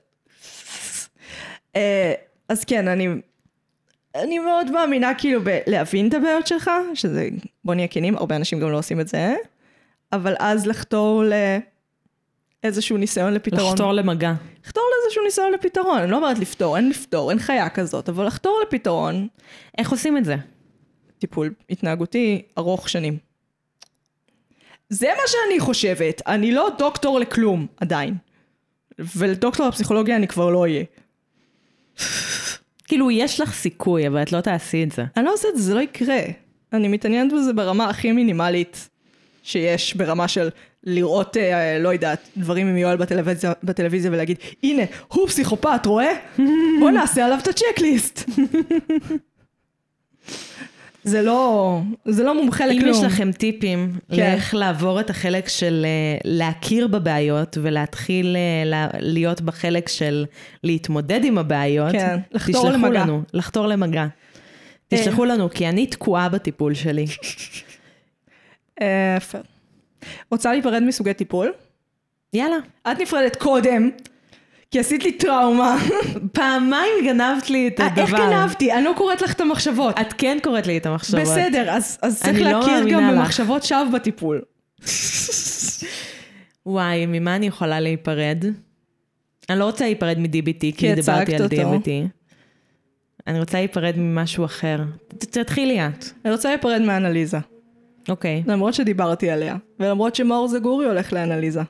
S1: אה, אז כן, אני, אני מאוד מאמינה כאילו בלהבין את הבעיות שלך, שזה, בוא נהיה כנים, הרבה אנשים גם לא עושים את זה, אבל אז לחתור לאיזשהו ניסיון לפתרון.
S2: לחתור למגע.
S1: לחתור לאיזשהו ניסיון לפתרון, אני לא אומרת לפתור, אין לפתור, אין חיה כזאת, אבל לחתור לפתרון,
S2: איך עושים את זה?
S1: טיפול התנהגותי ארוך שנים. זה מה שאני חושבת, אני לא דוקטור לכלום עדיין. ולדוקטור לפסיכולוגיה אני כבר לא אהיה.
S2: כאילו, יש לך סיכוי, אבל את לא תעשי את זה.
S1: אני לא עושה את זה, זה לא יקרה. אני מתעניינת בזה ברמה הכי מינימלית שיש, ברמה של לראות, אה, לא יודעת, דברים עם יואל בטלוויזיה, בטלוויזיה ולהגיד, הנה, הוא פסיכופת, רואה? בוא נעשה עליו את הצ'קליסט. [laughs] זה לא, זה לא מומחה
S2: אם
S1: לכלום.
S2: יש לכם טיפים
S1: כן.
S2: לאיך לעבור את החלק של אה, להכיר בבעיות ולהתחיל אה, לה- להיות בחלק של להתמודד עם הבעיות,
S1: כן, לחתור
S2: תשלחו
S1: למגע.
S2: לנו, לחתור למגע. תשלחו לנו, כי אני תקועה בטיפול שלי.
S1: אה, יפה. רוצה להיפרד מסוגי טיפול?
S2: יאללה.
S1: את נפרדת קודם, כי עשית לי טראומה.
S2: פעמיים גנבת לי את
S1: אה,
S2: הדבר.
S1: איך גנבתי? אני לא קוראת לך את המחשבות.
S2: את כן קוראת לי את המחשבות.
S1: בסדר, אז אז צריך
S2: אני לא
S1: להכיר
S2: מאמינה
S1: גם
S2: לך.
S1: במחשבות שווא בטיפול.
S2: וואי, ממה אני יכולה להיפרד? אני לא רוצה להיפרד מ-DBT, כי
S1: כי
S2: דיברתי על
S1: הצגת אותו.
S2: DBT. אני רוצה להיפרד ממשהו אחר. ת- תתחילי את.
S1: אני רוצה להיפרד מאנליזה,
S2: אוקיי.
S1: למרות שדיברתי עליה, ולמרות שמאור זגורי הולך לאנליזה.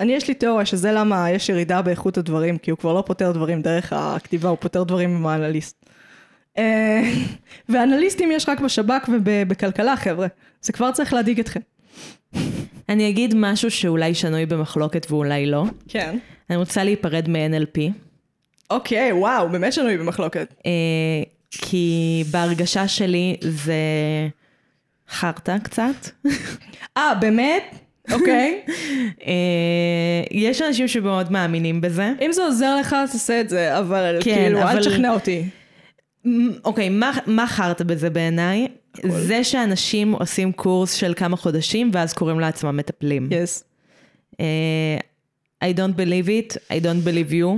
S1: אני יש לי תיאוריה שזה למה יש ירידה באיכות הדברים, כי הוא כבר לא פותר דברים דרך הכתיבה, הוא פותר דברים עם האנליסט. אה, [laughs] ואנליסטים יש רק בשב"כ ובכלכלה, חבר'ה. זה כבר צריך להדאיג אתכם.
S2: אני אגיד משהו שאולי שנוי במחלוקת ואולי לא.
S1: כן.
S2: אני רוצה להיפרד מ-NLP,
S1: אוקיי, וואו, באמת שנוי במחלוקת.
S2: אה, כי בהרגשה שלי זה חרטא קצת.
S1: אה, באמת? אוקיי.
S2: [laughs] אה, יש אנשים שמאוד מאמינים בזה.
S1: [laughs] אם זה עוזר לך, אז תעשה את זה, אבל
S2: כן,
S1: כאילו, אל
S2: אבל-
S1: תשכנע אותי.
S2: מ- אוקיי, מה, מה חרטא בזה בעיניי? זה שאנשים עושים קורס של כמה חודשים ואז קוראים לעצמם מטפלים.
S1: יס.
S2: אה, I don't believe it, I don't believe you.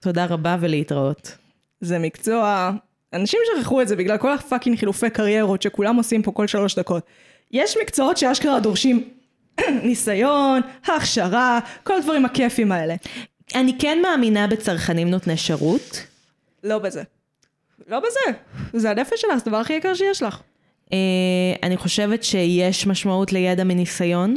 S2: תודה רבה ולהתראות.
S1: זה מקצוע. אנשים שכחו את זה בגלל כל הפאקינג חילופי קריירות שכולם עושים פה כל שלוש דקות. יש מקצועות שאשכרה דורשים [clears throat] ניסיון, הכשרה, כל הדברים הכיפים האלה.
S2: אני כן מאמינה בצרכנים נותני שירות.
S1: לא בזה. לא בזה. זה הנפש שלך, זה הדבר הכי יקר שיש לך.
S2: אה, אני חושבת שיש משמעות לידע מניסיון.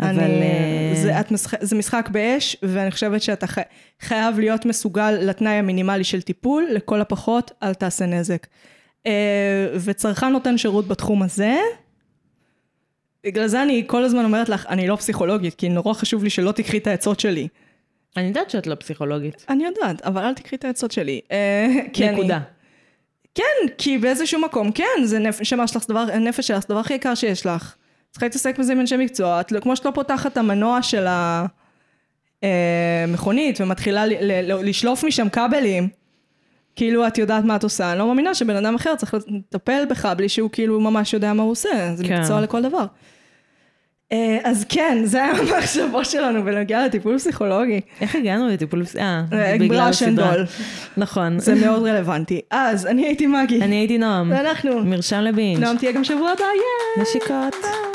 S2: אבל...
S1: אני,
S2: אה,
S1: זה, את משחק, זה משחק באש, ואני חושבת שאתה חי, חייב להיות מסוגל לתנאי המינימלי של טיפול, לכל הפחות אל תעשה נזק. אה, וצרכן נותן שירות בתחום הזה, בגלל זה אני כל הזמן אומרת לך, אני לא פסיכולוגית, כי נורא חשוב לי שלא תיקחי את העצות שלי.
S2: אני יודעת שאת לא פסיכולוגית.
S1: אני יודעת, אבל אל תיקחי את העצות שלי. אה, כי אני-
S2: נקודה.
S1: כן, כי באיזשהו מקום, כן, זה נפש, שמה שלך, זה דבר, הנפש שלך, זה הדבר הכי יקר שיש לך. צריכה להתעסק בזה עם אנשי מקצוע, את, לא- כמו שאת לא פותחת את המנוע של המכונית ומתחילה ל, ל, ל, לשלוף משם כבלים, כאילו את יודעת מה את עושה, אני לא מאמינה שבן אדם אחר צריך לטפל בך בלי שהוא כאילו ממש יודע מה הוא עושה, זה
S2: כן.
S1: כן. מקצוע לכל דבר. אה, אז כן, זה היה המחשבות שלנו בנוגע לטיפול פסיכולוגי.
S2: איך הגענו לטיפול... פס- אה,
S1: אה,
S2: בגלל הסדרה.
S1: ברשנדול.
S2: נכון.
S1: זה מאוד רלוונטי. אז אני הייתי מגי,
S2: אני הייתי נועם.
S1: ואנחנו, לא,
S2: מרשם לבינג'.
S1: נועם תהיה גם שבוע הבא, יאי!
S2: נשיקות.